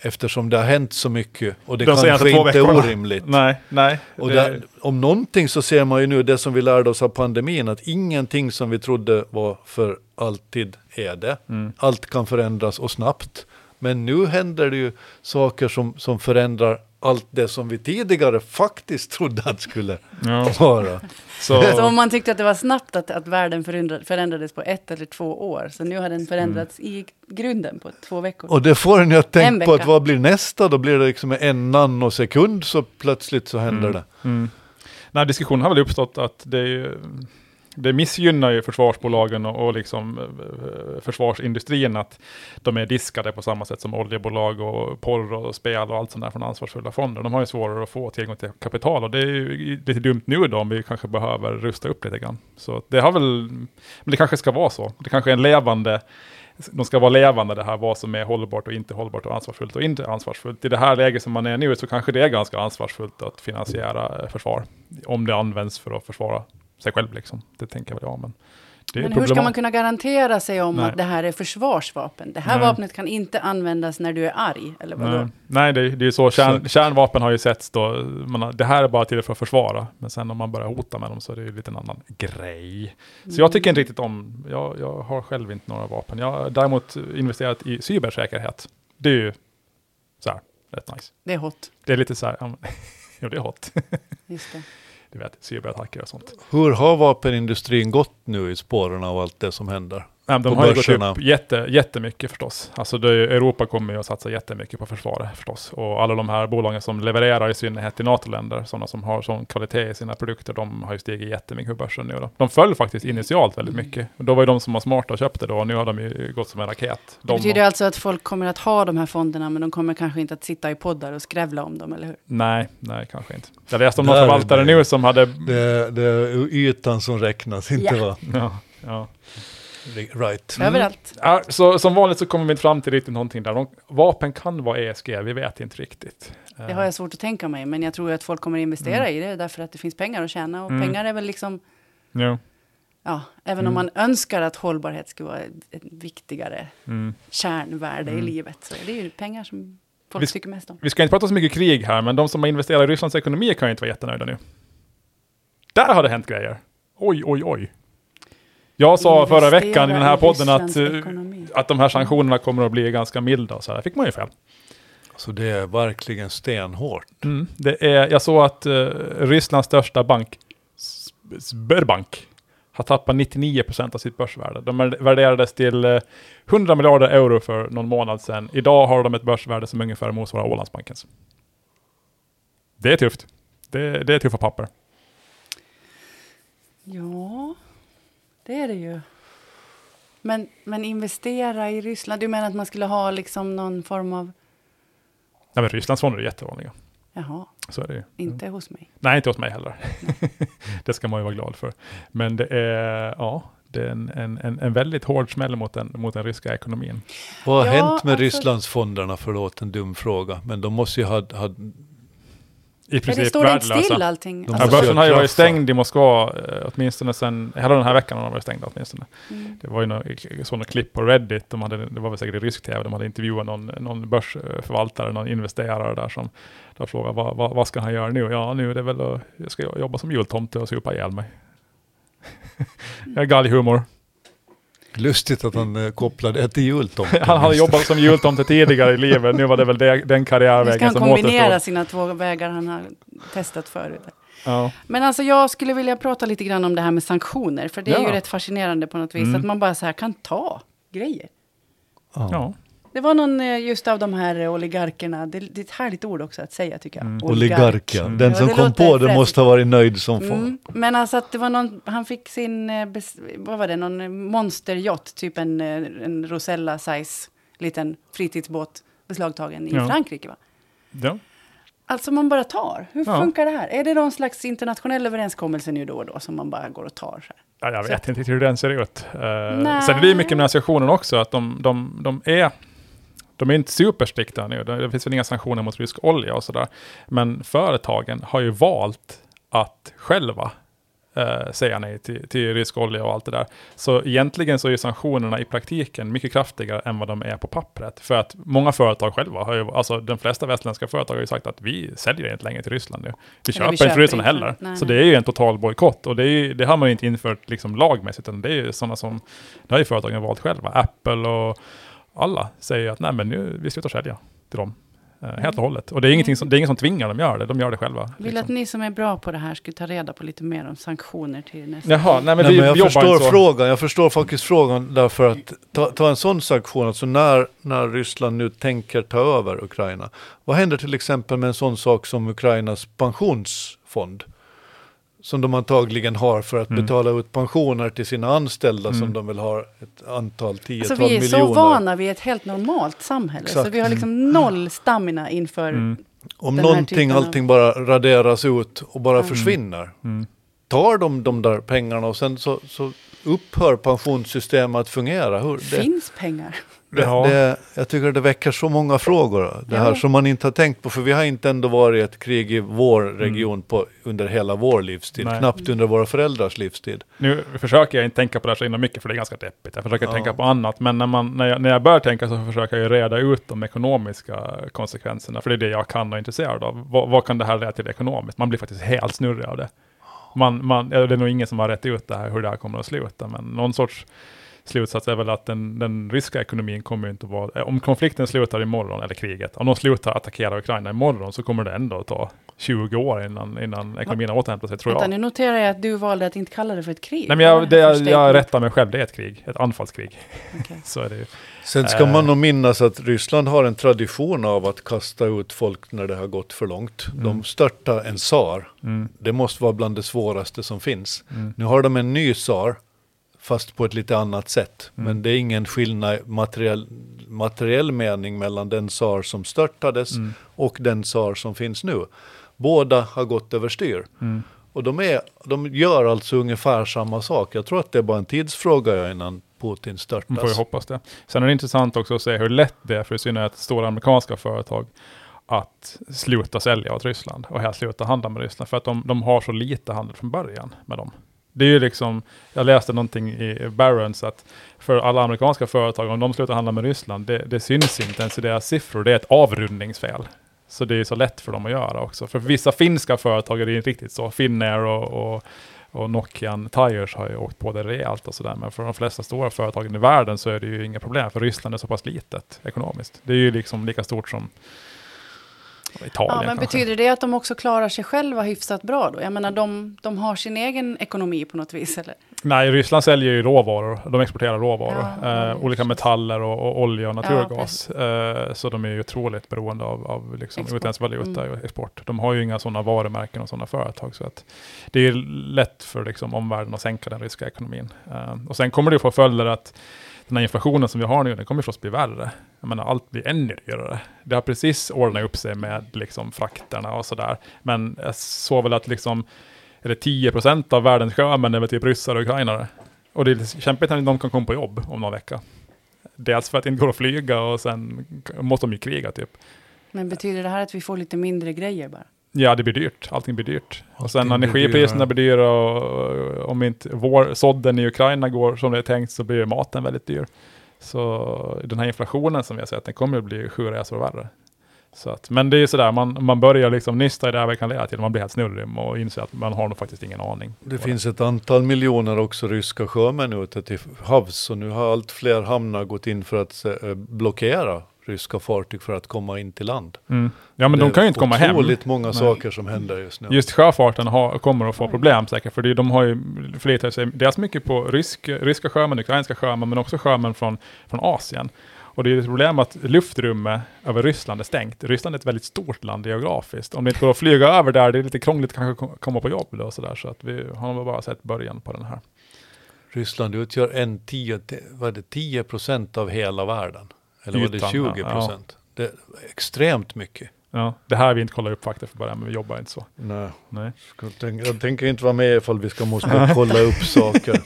Speaker 1: Eftersom det har hänt så mycket och det
Speaker 2: Mm. De senaste
Speaker 1: kanske
Speaker 2: två
Speaker 1: inte är
Speaker 2: veckorna.
Speaker 1: orimligt.
Speaker 2: Nej, nej.
Speaker 1: Och
Speaker 2: det-
Speaker 1: där, om någonting så ser man ju nu det som vi lärde oss av pandemin, att ingenting som vi trodde var för alltid är det.
Speaker 2: Mm.
Speaker 1: Allt kan förändras och snabbt. Men nu händer det ju saker som, som förändrar allt det som vi tidigare faktiskt trodde att skulle
Speaker 2: ja.
Speaker 1: vara.
Speaker 2: så,
Speaker 3: Så Alltså, om man tyckte att det var snabbt att, att världen förundra- förändrades på ett eller två år, så nu har
Speaker 2: Mm.
Speaker 3: den förändrats i grunden på två veckor.
Speaker 1: Och det får en ju att
Speaker 3: En
Speaker 1: tänka på
Speaker 3: vecka.
Speaker 1: att vad blir nästa? Då blir det liksom en nanosekund så plötsligt så händer det.
Speaker 2: mm. Nej, diskussionen har väl uppstått att det är ju, det missgynnar ju försvarsbolagen och, och liksom eh, försvarsindustrin att de är diskade på samma sätt som oljebolag och porr och spel och allt sånt där från ansvarsfulla fonder. De har ju svårare att få tillgång till kapital och det är ju lite dumt nu då om vi kanske behöver rusta upp lite grann. Så det har väl, men det kanske ska vara så. Det kanske är en levande, de ska vara levande det här vad som är hållbart och inte hållbart och ansvarsfullt och inte ansvarsfullt. I det här läget som man är nu så kanske det är ganska ansvarsfullt att finansiera eh, försvar om det används för att försvara sig själv liksom. Det tänker väl jag, men det är
Speaker 3: Men hur ska
Speaker 2: problemat-
Speaker 3: man kunna garantera sig om
Speaker 2: Nej.
Speaker 3: att det här är försvarsvapen? Det här
Speaker 2: Nej.
Speaker 3: vapnet kan inte användas när du är arg, eller vadå?
Speaker 2: Nej, nej det, är- det är ju så. Kärn,
Speaker 1: Exakt.
Speaker 2: kärnvapen har ju setts då. Man har, det här är bara till för att försvara. Men sen om man börjar hota med dem så är det ju lite en annan grej. Så jag tycker inte riktigt om, jag, jag har själv inte några vapen. Jag har däremot investerat i cybersäkerhet. Det är ju så här, rätt nice.
Speaker 3: Det är hot.
Speaker 2: Det är lite så här, ja, men- jo det är hot.
Speaker 3: Just det.
Speaker 2: Du vet, cyberattacker och sånt.
Speaker 1: Hur har vapenindustrin gått nu i spåren av allt det som händer?
Speaker 2: Nej, men
Speaker 1: på
Speaker 2: de har ju gått
Speaker 1: börserna.
Speaker 2: upp jätte, jättemycket förstås. Alltså det, Europa kommer ju att satsa jättemycket på försvaret förstås. Och alla de här bolagen som levererar i synnerhet till NATO-länder, sådana som har sån kvalitet i sina produkter, de har ju stigit jättemycket på börsen nu. Då. De föll faktiskt initialt väldigt
Speaker 3: Mm.
Speaker 2: mycket. Och då var ju de som var smarta och köpte då, och nu har de ju gått som en raket.
Speaker 3: Det
Speaker 2: De
Speaker 3: betyder alltså att folk kommer att ha de här fonderna, men de kommer kanske inte att sitta i poddar och skrävla om dem, eller hur?
Speaker 2: Nej, nej kanske inte. Jag läste om någon
Speaker 1: Där är
Speaker 2: förvaltare
Speaker 1: det.
Speaker 2: nu som hade...
Speaker 1: Det, det är ytan som räknas, inte
Speaker 3: Ja.
Speaker 1: va?
Speaker 2: Ja, ja.
Speaker 1: Right.
Speaker 2: Mm.
Speaker 3: Överallt.
Speaker 2: Ja, så, som vanligt så kommer vi inte fram till riktigt någonting där. De, vapen kan vara ESG, vi vet inte riktigt.
Speaker 3: Det
Speaker 2: Eh,
Speaker 3: har jag svårt att tänka mig, men jag tror ju att folk kommer att investera i det, därför att det finns pengar att tjäna. Och
Speaker 2: Mm.
Speaker 3: pengar är väl liksom,
Speaker 2: jo.
Speaker 3: ja, även om
Speaker 2: Mm.
Speaker 3: man önskar att hållbarhet ska vara ett ett viktigare
Speaker 2: Mm.
Speaker 3: kärnvärde i
Speaker 2: Mm.
Speaker 3: livet, så är det ju pengar som folk
Speaker 2: Visst-
Speaker 3: tycker mest om.
Speaker 2: Vi ska inte prata så mycket krig här, men de som har investerat i Rysslands ekonomi kan ju inte vara jättenöjda nu. Där har det hänt grejer. Oj, oj, oj. Jag sa förra veckan i den här podden att, eh, att de här sanktionerna kommer att bli ganska milda och så här. fick man ju fel.
Speaker 1: Så det är verkligen stenhårt.
Speaker 2: Mm. Det är, jag såg att eh, Rysslands största bank, S- Sberbank, har tappat 99% av sitt börsvärde. De är- värderades till eh, 100 miljarder euro för någon månad sedan. Idag har de ett börsvärde som ungefär motsvarar Ålandsbankens. Det är tufft. Det, det är tuffa papper.
Speaker 3: Ja, det är det ju. Men, men investera i Ryssland, du menar att man skulle ha liksom någon form av,
Speaker 2: Nej, men Rysslands fonder är jättevanliga.
Speaker 3: jaha,
Speaker 2: Så är det ju.
Speaker 3: inte hos mig.
Speaker 2: Nej, inte hos mig heller. det ska man ju vara glad för. Men det är, ja, det är en, en, en, en väldigt hård smäll mot den, mot den ryska ekonomin.
Speaker 1: Vad har
Speaker 3: Ja,
Speaker 1: hänt med
Speaker 3: alltså-
Speaker 1: Rysslandsfonderna? Förlåt, en dum fråga. Men de måste ju ha... ha
Speaker 2: I
Speaker 3: Men det
Speaker 2: princip
Speaker 3: står inte
Speaker 2: värdelösa.
Speaker 3: still allting.
Speaker 1: De
Speaker 2: Ja,
Speaker 1: Alltså,
Speaker 2: börsen har ju
Speaker 1: jag
Speaker 2: varit
Speaker 1: klaffar.
Speaker 2: stängd i Moskva eh, åtminstone sen, hela den här veckan har de varit stängda åtminstone.
Speaker 3: mm.
Speaker 2: Det var ju några sådana klipp på Reddit, de hade, det var väl säkert i rysk tv, de hade intervjuat någon, någon börsförvaltare, någon investerare där som där frågade vad, vad, vad ska han göra nu? Ja, nu är det väl att jag ska jobba som jultomte och supa ihjäl mig. jag är galghumor.
Speaker 1: lustigt att han eh, kopplade det till jultomten.
Speaker 2: Han hade jobbat som jultomte tidigare i livet, nu var det väl det, den
Speaker 3: Nu ska
Speaker 2: karriärvägen
Speaker 3: han
Speaker 2: som återstår.
Speaker 3: kombinera sina två vägar han har testat förut.
Speaker 2: Ja.
Speaker 3: Men alltså jag skulle vilja prata lite grann om det här med sanktioner, för det är
Speaker 2: Ja.
Speaker 3: ju rätt fascinerande på något vis,
Speaker 2: Mm.
Speaker 3: att man bara så här kan ta grejer.
Speaker 1: Ja.
Speaker 2: Ja.
Speaker 3: Det var någon eh, just av de här eh, oligarkerna, det, det är ett härligt ord också att säga tycker jag.
Speaker 2: Mm.
Speaker 1: Oligark, ja. Den
Speaker 3: Ja,
Speaker 1: som
Speaker 3: det
Speaker 1: kom
Speaker 3: låter
Speaker 1: på det
Speaker 3: fräscht.
Speaker 1: måste ha varit nöjd som fan.
Speaker 3: Mm. Men alltså att det var någon, han fick sin, eh, bes, vad var det, någon eh, monsteryacht, typ en, eh, en Rosella size liten fritidsbåt beslagtagen i
Speaker 2: Ja.
Speaker 3: Frankrike va?
Speaker 2: Ja.
Speaker 3: Alltså man bara tar, hur
Speaker 2: Ja.
Speaker 3: funkar det här? Är det någon slags internationell överenskommelse nu då och då som man bara går och tar? Så här?
Speaker 2: Ja, jag
Speaker 3: Så
Speaker 2: vet inte riktigt hur den ser ut. Eh,
Speaker 3: Nej.
Speaker 2: sen är det ju mycket med den här sanktionen också, att de, de, de är de är inte superstrikta nu. Det det finns väl inga sanktioner mot rysk olja och sådär. Men företagen har ju valt att själva eh, säga nej till, till rysk olja och allt det där. Så egentligen så är ju sanktionerna i praktiken mycket kraftigare än vad de är på pappret. För att många företag själva, har ju, alltså de flesta västländska företag har ju sagt att vi säljer inte längre till Ryssland nu. Vi köper,
Speaker 3: vi
Speaker 2: inte
Speaker 3: köper
Speaker 2: till Ryssland
Speaker 3: inte.
Speaker 2: heller.
Speaker 3: Nej,
Speaker 2: så
Speaker 3: nej.
Speaker 2: det är ju en total bojkott och det, är ju, det har man ju inte infört liksom lagmässigt utan det är ju sådana som, det har ju företagen valt själva. Apple och alla säger att nej men nu, vi slutar sälja till dem. eh, Helt och hållet. Och det är, ingenting som, det är ingen som tvingar dem att göra det, de gör det själva.
Speaker 3: Mm.
Speaker 2: liksom.
Speaker 3: Vill att ni som är bra på det här skulle ta reda på lite mer om sanktioner till nästa
Speaker 2: Jaha, nej men,
Speaker 1: Nej,
Speaker 2: vi
Speaker 1: men jag
Speaker 2: jobbar
Speaker 1: förstår
Speaker 2: inte så.
Speaker 1: frågan, jag förstår faktiskt frågan därför att ta, ta en sån sanktion, alltså när, när Ryssland nu tänker ta över Ukraina. Vad händer till exempel med en sån sak som Ukrainas pensionsfond? Som de antagligen har för att
Speaker 2: Mm.
Speaker 1: betala ut pensioner till sina anställda
Speaker 2: Mm.
Speaker 1: som de vill ha ett antal
Speaker 3: Alltså
Speaker 1: tiotal
Speaker 3: vi är
Speaker 1: miljoner.
Speaker 3: så vana vid ett helt normalt samhälle, så
Speaker 1: Exakt.
Speaker 3: vi har liksom noll stamina inför...
Speaker 2: Mm,
Speaker 1: Om
Speaker 3: den här
Speaker 1: någonting,
Speaker 3: typen av-
Speaker 1: allting bara raderas ut och bara försvinner.
Speaker 2: mm.
Speaker 1: Tar de de där pengarna och sen så, så upphör pensionssystemet att fungera. Hur, det,
Speaker 3: Finns pengar?
Speaker 1: Det,
Speaker 2: Ja.
Speaker 1: det, jag tycker det väcker så många frågor, det här
Speaker 3: Ja.
Speaker 1: som man inte har tänkt på. För vi har inte ändå varit i ett krig i vår region på, under hela vår livstid,
Speaker 2: Mm. Nej.
Speaker 1: knappt under våra föräldrars livstid.
Speaker 2: Nu försöker jag inte tänka på det här så himla mycket, för det är ganska deppigt. Jag försöker
Speaker 1: Ja.
Speaker 2: tänka på annat, men när, man, när, jag, när jag börjar tänka så försöker jag ju reda ut de ekonomiska konsekvenserna, för det är det jag kan och är intresserad av. Vad, vad kan det här leda till ekonomiskt? Man blir faktiskt helt snurrig av det. Man, man, ja, det är nog ingen som har rätt ut det här, hur det här kommer att sluta, men någon sorts slutsats är väl att den, den ryska ekonomin kommer ju inte att vara... eh, Om konflikten slutar imorgon, eller kriget, om de slutar attackera Ukraina imorgon så kommer det ändå att ta 20 år innan, innan ekonomin återhämtar sig, tror
Speaker 3: Vänta,
Speaker 2: jag.
Speaker 3: nu noterar jag att du valde att inte kalla det för ett krig.
Speaker 2: Nej, men jag, det,
Speaker 3: Vad var
Speaker 2: jag,
Speaker 3: för statement?
Speaker 2: jag rättar mig själv, det är ett krig, ett anfallskrig.
Speaker 3: Okej.
Speaker 2: Så är det ju.
Speaker 1: Sen ska
Speaker 2: Eh.
Speaker 1: man nog minnas att Ryssland har en tradition av att kasta ut folk när det har gått för långt. De störtar en tsar.
Speaker 2: Mm.
Speaker 1: Det måste vara bland det svåraste som finns.
Speaker 2: Mm.
Speaker 1: Nu har de en ny tsar, fast på ett lite annat sätt.
Speaker 2: Mm.
Speaker 1: Men det är ingen skillnad i materiell, materiell mening mellan den tsar som störtades
Speaker 2: Mm.
Speaker 1: och den tsar som finns nu. Båda har gått överstyr.
Speaker 2: Mm.
Speaker 1: Och de, är, de gör alltså ungefär samma sak. Jag tror att det är bara en tidsfråga ja, innan Putin
Speaker 2: Man får ju
Speaker 1: störtas.
Speaker 2: hoppas det. Sen är det intressant också att se hur lätt det är för i synnerhet stora amerikanska företag att sluta sälja åt Ryssland och här sluta handla med Ryssland för att de, de har så lite handel från början med dem. Det är ju liksom, jag läste någonting i Barron's att för alla amerikanska företag, om de slutar handla med Ryssland, det, det syns inte ens i deras siffror, det är ett avrundningsfel. Så det är ju så lätt för dem att göra också. För vissa finska företag är det ju inte riktigt så. Finnair och, och, och Nokian Tires har ju åkt på det rejält och sådär. Men för de flesta stora företagen i världen så är det ju inga problem. För Ryssland är så pass litet ekonomiskt. Det är ju liksom lika stort som Italien
Speaker 3: Ja, men
Speaker 2: kanske.
Speaker 3: betyder det att de också klarar sig själva hyfsat bra då? Jag menar, de, de har sin egen ekonomi på något vis, eller?
Speaker 2: Nej, Ryssland säljer ju råvaror. De exporterar råvaror.
Speaker 3: Ja, ja,
Speaker 2: eh,
Speaker 3: just
Speaker 2: olika
Speaker 3: det.
Speaker 2: metaller och, och olja och naturgas.
Speaker 3: precis.
Speaker 2: eh, så de är ju otroligt beroende av, av liksom
Speaker 3: Export.
Speaker 2: utländsk valuta och export. De har ju inga sådana varumärken och sådana företag. Så att det är lätt för liksom, omvärlden att sänka den ryska ekonomin. Eh, och sen kommer det ju få följder att den här inflationen som vi har nu, den kommer förstås bli värre. Jag menar, allt blir ännu dyrare. Det har precis ordnat upp sig med liksom, frakterna och sådär. Men jag såg väl att liksom, är det 10 procent av världens sjömän är väl typ ryssar och ukrainare. Och det är lite kämpigt när de kan komma på jobb om någon vecka. Dels för att det inte går att flyga och sen måste de ju kriga typ.
Speaker 3: Men betyder det här att vi får lite mindre grejer bara?
Speaker 2: Ja, det blir dyrt. Allting blir dyrt. Och sen
Speaker 1: Allting blir
Speaker 2: energipriserna
Speaker 1: dyrare.
Speaker 2: blir dyra och eh, om inte vår, sådden i Ukraina går som det är tänkt så blir maten väldigt dyr. Så den här inflationen som vi har sett, den kommer att bli sju resor värre. Så att, men det är ju sådär, man, man börjar liksom nysta i det här vi kan leda till, man blir helt snurrig och inser att man har nog faktiskt ingen aning.
Speaker 1: Det finns ett antal miljoner också ryska sjömän ute till havs och nu har allt fler hamnar gått in för att eh, blockera ryska fartyg för att komma in till land.
Speaker 2: Mm. Ja, men de
Speaker 1: Det är
Speaker 2: kan ju inte komma hem.
Speaker 1: Otroligt många saker som händer just nu.
Speaker 2: Just sjöfarten har, kommer att få problem säkert, för det- de har ju förlitat sig dels mycket på rysk, ryska sjömän, ukrainska sjömän, men också sjömän från, från Asien. Och det är ett problem att luftrummet över Ryssland är stängt. Ryssland är ett väldigt stort land geografiskt. Om det inte går att flyga över där, det är lite krångligt att kanske kom- komma på jobb då och sådär. Så att vi har nog bara sett början på den här.
Speaker 1: Ryssland utgör en tio, vad är det, 10 procent av hela världen. Eller var det
Speaker 2: Ytan,
Speaker 1: 20
Speaker 2: ja.
Speaker 1: procent? Det är extremt mycket.
Speaker 2: Ja, det här har vi inte kollat upp faktiskt för början, men vi jobbar inte så.
Speaker 1: Nej,
Speaker 2: Nej.
Speaker 1: jag tänker, jag tänker inte vara med ifall vi ska måste kolla upp saker.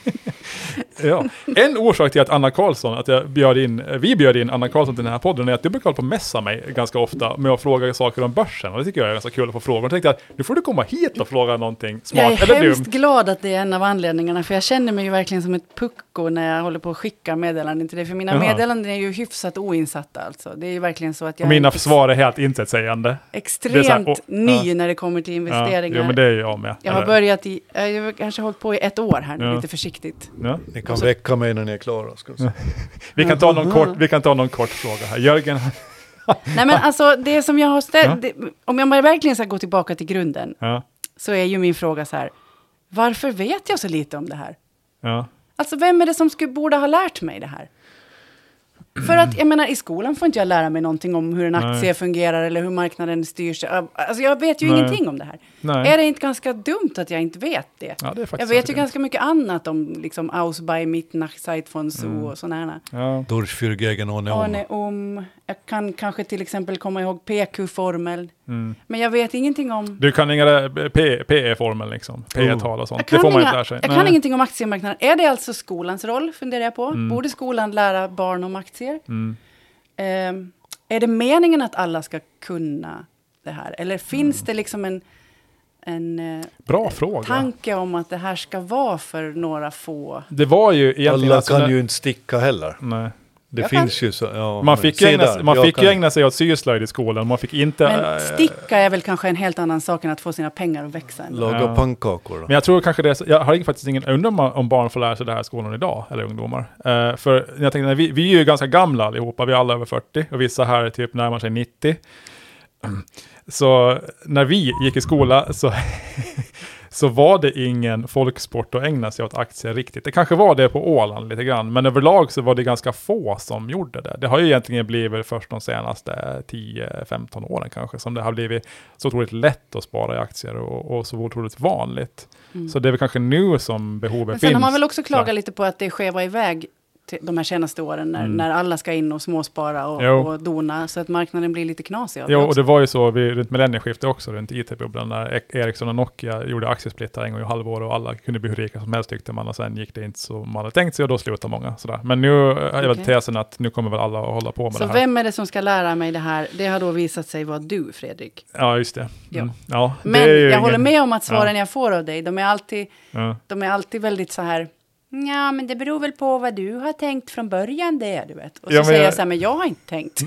Speaker 2: Ja. En orsak till att Anna Karlsson, att jag bjöd in, eh, vi bjöd in Anna Karlsson till den här podden är att du brukar hålla på och messa mig ganska ofta med att fråga saker om börsen. Och det tycker jag är ganska kul att få frågor. Jag tänkte att nu får du komma hit och fråga någonting
Speaker 3: Jag
Speaker 2: smart
Speaker 3: är
Speaker 2: eller
Speaker 3: hemskt
Speaker 2: dumt.
Speaker 3: glad att det är en av anledningarna, för jag känner mig ju verkligen som ett pucko när jag håller på att skicka meddelanden till dig, för mina
Speaker 2: Jaha.
Speaker 3: meddelanden är ju hyfsat oinsatta alltså. Det är ju verkligen så att jag
Speaker 2: Och mina
Speaker 3: är ex-
Speaker 2: svar är helt intetsägande. det är
Speaker 3: extremt
Speaker 2: så här, åh,
Speaker 3: ny
Speaker 2: ja.
Speaker 3: när det kommer till
Speaker 2: Ja,
Speaker 3: investeringar.
Speaker 2: jo, men det är jag med.
Speaker 3: Jag har
Speaker 2: Eller-
Speaker 3: börjat i, eh, jag har kanske hållit på i ett år här nu,
Speaker 2: Ja.
Speaker 3: lite försiktigt.
Speaker 2: Ja.
Speaker 1: Ni kan väcka mig när ni är klara. Ska jag säga.
Speaker 2: Vi, kan ta någon kort, vi kan ta någon kort fråga här. Jörgen,
Speaker 3: Nej men alltså det som jag har ställt,
Speaker 2: Ja.
Speaker 3: det, om jag bara verkligen ska gå tillbaka till grunden,
Speaker 2: ja,
Speaker 3: så är ju min fråga så här, varför vet jag så lite om det här?
Speaker 2: ja.
Speaker 3: Alltså vem är det som skulle, borde ha lärt mig det här? För att jag menar i skolan får inte jag lära mig någonting om hur en aktie
Speaker 2: Nej.
Speaker 3: fungerar eller hur marknaden styrs. Alltså jag vet ju
Speaker 2: Nej.
Speaker 3: ingenting om det här.
Speaker 2: Nej.
Speaker 3: Är det inte ganska dumt att jag inte vet det?
Speaker 2: Ja, det är faktiskt
Speaker 3: jag vet
Speaker 2: ganska
Speaker 3: ju
Speaker 2: dumt.
Speaker 3: ganska mycket annat om liksom Ausbei, Mittnach, Zeitfonso
Speaker 2: Mm.
Speaker 3: och sådana här.
Speaker 2: Ja.
Speaker 1: Durchfürgegen ohne Oma.
Speaker 3: Arne Om, jag kan kanske till exempel komma ihåg PQ-formel. Men jag vet ingenting om...
Speaker 2: Mm. Du kan inga PE-formeln liksom, PE-tal och sånt.
Speaker 3: Jag kan,
Speaker 2: Det får man
Speaker 3: inga,
Speaker 2: inte lära sig.
Speaker 3: jag kan
Speaker 2: Nej.
Speaker 3: ingenting om aktiemarknaden. Är det alltså skolans roll, funderar jag på?
Speaker 2: Mm.
Speaker 3: Borde skolan lära barn om aktier? Ehm, är det meningen att alla ska kunna det här? Eller finns det liksom en, en eh,
Speaker 2: Mm. Bra fråga.
Speaker 3: tanke om att det här ska vara för några få?
Speaker 2: Det var ju egentligen...
Speaker 1: Alla
Speaker 2: alltså när-
Speaker 1: kan ju inte sticka heller.
Speaker 2: Nej.
Speaker 1: Det
Speaker 3: Jag
Speaker 1: finns ju så. Ja,
Speaker 2: Man
Speaker 1: men
Speaker 2: fick, ju
Speaker 1: se
Speaker 2: ägna,
Speaker 1: där,
Speaker 2: man
Speaker 1: jag
Speaker 2: fick ju
Speaker 1: kan-
Speaker 2: ägna sig åt syslöjd i skolan, man fick inte...
Speaker 3: Men
Speaker 2: eh,
Speaker 3: sticka är väl kanske en helt annan sak än att få sina pengar att växa. ändå.
Speaker 1: Laga
Speaker 2: Ja.
Speaker 1: pannkakor då.
Speaker 2: Men jag tror kanske det är, så- jag har faktiskt ingen, jag undrar om, om barn får lära sig det här i skolan idag, eller ungdomar. Eh, för jag tänkte, nej, vi, vi är ju ganska gamla allihopa, vi är alla över 40 och vissa här är typ närmar sig 90. Mm. Så när vi gick i skola så, så var det ingen folksport att ägna sig åt aktier riktigt. Det kanske var det på Åland lite grann, men överlag så var det ganska få som gjorde det. Det har ju egentligen blivit först de senaste 10-15 åren kanske, som det har blivit så otroligt lätt att spara i aktier och, och så otroligt vanligt.
Speaker 3: Mm.
Speaker 2: Så det är väl kanske nu som behovet
Speaker 3: Men
Speaker 2: finns.
Speaker 3: sen har man väl också
Speaker 2: Ja.
Speaker 3: klagat lite på att det skevar iväg till de här senaste åren när,
Speaker 2: Mm.
Speaker 3: när alla ska in och småspara och,
Speaker 2: Jo.
Speaker 3: och dona så att marknaden blir lite knasig av
Speaker 2: Ja,
Speaker 3: det
Speaker 2: och
Speaker 3: också.
Speaker 2: det var ju så vid, runt millennieskiftet också, runt IT-bubblan, när E- Ericsson och Nokia gjorde aktiesplittar en gång i halvår och alla kunde bli hur rika som helst tyckte man, och sen gick det inte som man hade tänkt sig och då slutade många. Sådär. Men nu eh, är väl
Speaker 3: Okej.
Speaker 2: tesen att nu kommer väl alla att hålla på med
Speaker 3: Så
Speaker 2: det här.
Speaker 3: vem är det som ska lära mig det här? Det har då visat sig vara du, Fredrik.
Speaker 2: Ja, just det.
Speaker 3: Ja.
Speaker 2: Mm. Ja, det
Speaker 3: Men
Speaker 2: är ju
Speaker 3: jag
Speaker 2: ingen-
Speaker 3: håller med om att svaren jag får av dig, de är alltid,
Speaker 2: Ja.
Speaker 3: de är alltid väldigt så här, ja men det beror väl på vad du har tänkt från början det, du vet. Och så
Speaker 2: Ja, men
Speaker 3: säger
Speaker 2: jag-
Speaker 3: jag så här, men jag har inte tänkt.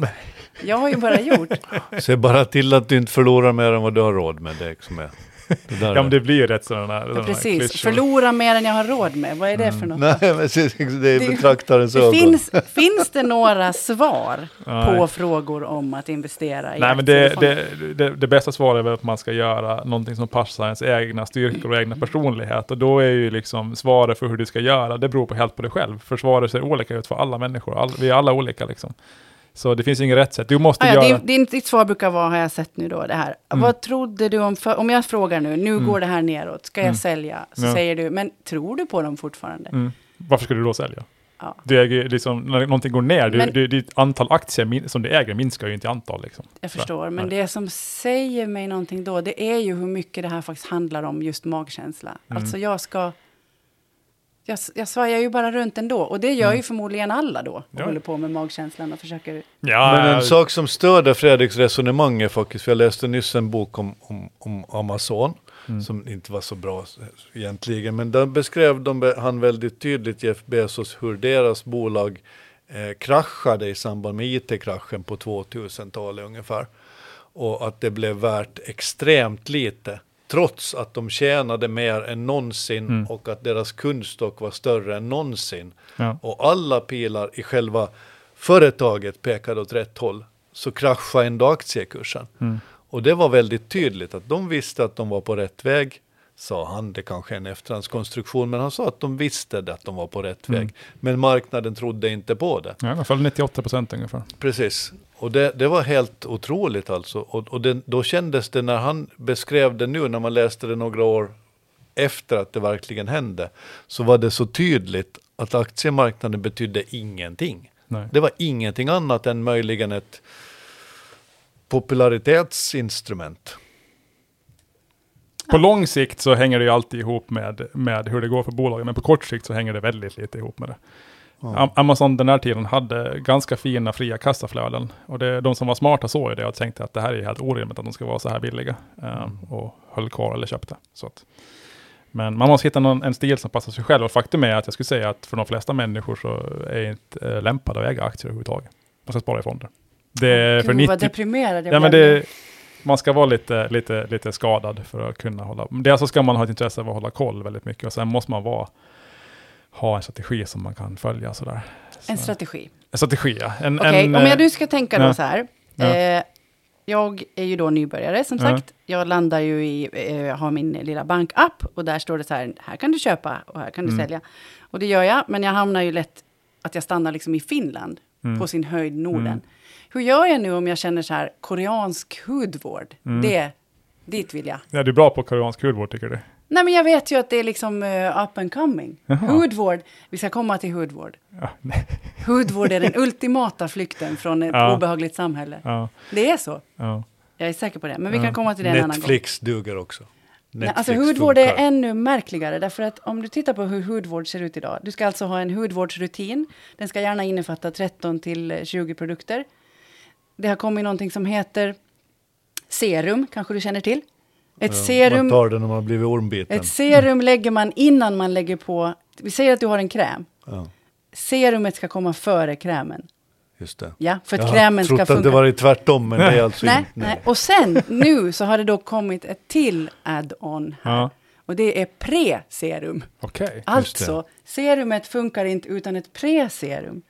Speaker 3: Jag har ju bara gjort.
Speaker 1: Se bara till att du inte förlorar mer än vad du har råd med. Det, som är. liksom det där
Speaker 2: ja, men
Speaker 1: är-
Speaker 2: det blir ju rätt sådana här, Mm.
Speaker 3: Ja,
Speaker 2: sådana här
Speaker 3: precis,
Speaker 2: klyschor.
Speaker 3: förlora mer än jag har råd med, vad är det för något?
Speaker 1: Nej, men precis, det är
Speaker 3: Det-
Speaker 1: betraktarens
Speaker 3: Det
Speaker 1: ögon.
Speaker 3: finns, finns det några svar
Speaker 2: Nej.
Speaker 3: på frågor om att investera
Speaker 2: Nej,
Speaker 3: i
Speaker 2: men
Speaker 3: aktier och
Speaker 2: det, det,
Speaker 3: fonder?
Speaker 2: det, det bästa svaret är väl att man ska göra någonting som passar ens egna styrkor och egna
Speaker 3: Mm.
Speaker 2: personlighet. Och då är ju liksom svaret för hur du ska göra, det beror på helt på dig själv. För svaret ser olika ut för alla människor, all, vi är alla olika liksom. Så det Mm. finns ju inget rätt sätt. Du måste
Speaker 3: Ah, ja,
Speaker 2: göra...
Speaker 3: din, din, ditt svar brukar vara, har jag sett nu då, det här. Vad trodde du om, för, om jag frågar nu, nu går det här neråt, ska jag sälja? Så
Speaker 2: Mm. Ja.
Speaker 3: säger du, men tror du på dem fortfarande?
Speaker 2: Mm. Varför skulle du då sälja?
Speaker 3: Ja.
Speaker 2: Du äger ju liksom, när någonting går ner, du,
Speaker 3: Men-
Speaker 2: du, ditt antal aktier min, som du äger minskar ju inte i antal. Liksom.
Speaker 3: Jag
Speaker 2: Så.
Speaker 3: förstår, men
Speaker 2: Nej.
Speaker 3: det som säger mig någonting då, det är ju hur mycket det här faktiskt handlar om just magkänsla.
Speaker 2: Mm.
Speaker 3: Alltså jag ska... Jag, s- jag svajar ju bara runt ändå, och det gör ju förmodligen alla då, och
Speaker 2: Mm. Ja.
Speaker 3: håller på med magkänslan och försöker...
Speaker 2: Ja,
Speaker 1: Men en sak som stöder Fredriks resonemang är faktiskt, för jag läste nyss en bok om, om, om Amazon,
Speaker 2: Mm.
Speaker 1: som inte var så bra egentligen, men där beskrev de, han väldigt tydligt, Jeff Bezos, hur deras bolag eh, kraschade i samband med IT-kraschen på 2000-talet ungefär. Och att det blev värt extremt lite, trots att de tjänade mer än någonsin och att deras kundstock var större än någonsin
Speaker 2: ja.
Speaker 1: och alla pilar i själva företaget pekade åt rätt håll, så kraschade ändå aktiekursen. Och det var väldigt tydligt att de visste att de var på rätt väg, sa han, det kanske är en efterhandskonstruktion, men han sa att de visste det, att de var på rätt väg. Men marknaden trodde inte på det.
Speaker 2: Ja, i alla fall 98 procent ungefär.
Speaker 1: Precis. Och det, det var helt otroligt alltså. Och, och det, då kändes det när han beskrev det nu, när man läste det några år efter att det verkligen hände, så var det så tydligt att aktiemarknaden betydde ingenting.
Speaker 2: Nej.
Speaker 1: Det var ingenting annat än möjligen ett popularitetsinstrument.
Speaker 2: På lång sikt så hänger det ju alltid ihop med, med hur det går för bolagen, men på kort sikt så hänger det väldigt lite ihop med det. Am- Amazon den här tiden hade ganska fina fria kassaflöden och det, de som var smarta såg ju det och tänkte att det här är helt orimligt att de ska vara så här billiga
Speaker 3: Mm.
Speaker 2: ehm, och höll kvar eller köpte. Så att, men man måste hitta någon, en stil som passar sig själv och faktum är att jag skulle säga att för de flesta människor så är inte eh, lämpade att äga aktier överhuvudtaget. Man ska spara i fonder. Det är för
Speaker 3: Gud, vad
Speaker 2: 90
Speaker 3: deprimerad jag
Speaker 2: Ja, men
Speaker 3: blev nu.
Speaker 2: det, man ska vara lite, lite, lite skadad för att kunna hålla... Dels så ska man ha ett intresse av att hålla koll väldigt mycket och sen måste man vara, ha en strategi som man kan följa. Sådär. Så-
Speaker 3: En strategi.
Speaker 2: en strategi, ja. En,
Speaker 3: Okej,
Speaker 2: en,
Speaker 3: om
Speaker 2: eh,
Speaker 3: jag, du ska tänka
Speaker 2: ja.
Speaker 3: då så här.
Speaker 2: Ja.
Speaker 3: Eh, jag är ju då nybörjare, som
Speaker 2: Ja.
Speaker 3: sagt. Jag landar ju i, eh, har min lilla bankapp och där står det så här, här kan du köpa och här kan
Speaker 2: Mm.
Speaker 3: du sälja. Och det gör jag, men jag hamnar ju lätt att jag stannar liksom i Finland,
Speaker 2: eh, mm.
Speaker 3: på sin höjd Norden. Hur gör jag nu om jag känner så här, koreansk hudvård,
Speaker 2: Mm.
Speaker 3: det, dit vill jag.
Speaker 2: Ja, du är bra på koreansk hudvård tycker du?
Speaker 3: Nej, men jag vet ju att det är liksom eh, up and coming. Hudvård, vi ska komma till hudvård.
Speaker 2: Ja, nej.
Speaker 3: Hudvård är den ultimata flykten från ett
Speaker 2: Ja.
Speaker 3: obehagligt samhälle.
Speaker 2: ja,
Speaker 3: Det är så.
Speaker 2: ja.
Speaker 3: Jag är säker på det. Men vi kan komma till det en annan gång.
Speaker 1: Netflix duger också.
Speaker 3: Nej,
Speaker 1: Netflix
Speaker 3: alltså hudvård är
Speaker 1: funkar.
Speaker 3: ännu märkligare. Därför att om du tittar på hur hudvård ser ut idag. Du ska alltså ha en hudvårdsrutin. Den ska gärna innefatta 13 till eh, 20 produkter. Det har kommit någonting som heter serum, kanske du känner till. Ett
Speaker 1: Man
Speaker 3: serum
Speaker 1: tar det när man har blivit ormbiten.
Speaker 3: ett serum lägger man innan man lägger på... Vi säger att du har en kräm.
Speaker 1: Ja.
Speaker 3: Serumet ska komma före krämen.
Speaker 1: Just det.
Speaker 3: Ja, för att
Speaker 1: Jag
Speaker 3: krämen ska
Speaker 1: trodde
Speaker 3: funka.
Speaker 1: att det var tvärtom, men det är alltså
Speaker 3: nej,
Speaker 1: inte.
Speaker 3: nej. Och sen, nu så har det då kommit ett till add-on här.
Speaker 2: Ja.
Speaker 3: Och det är pre-serum.
Speaker 2: Okej.
Speaker 1: Just
Speaker 3: Alltså, serumet funkar inte utan ett preserum.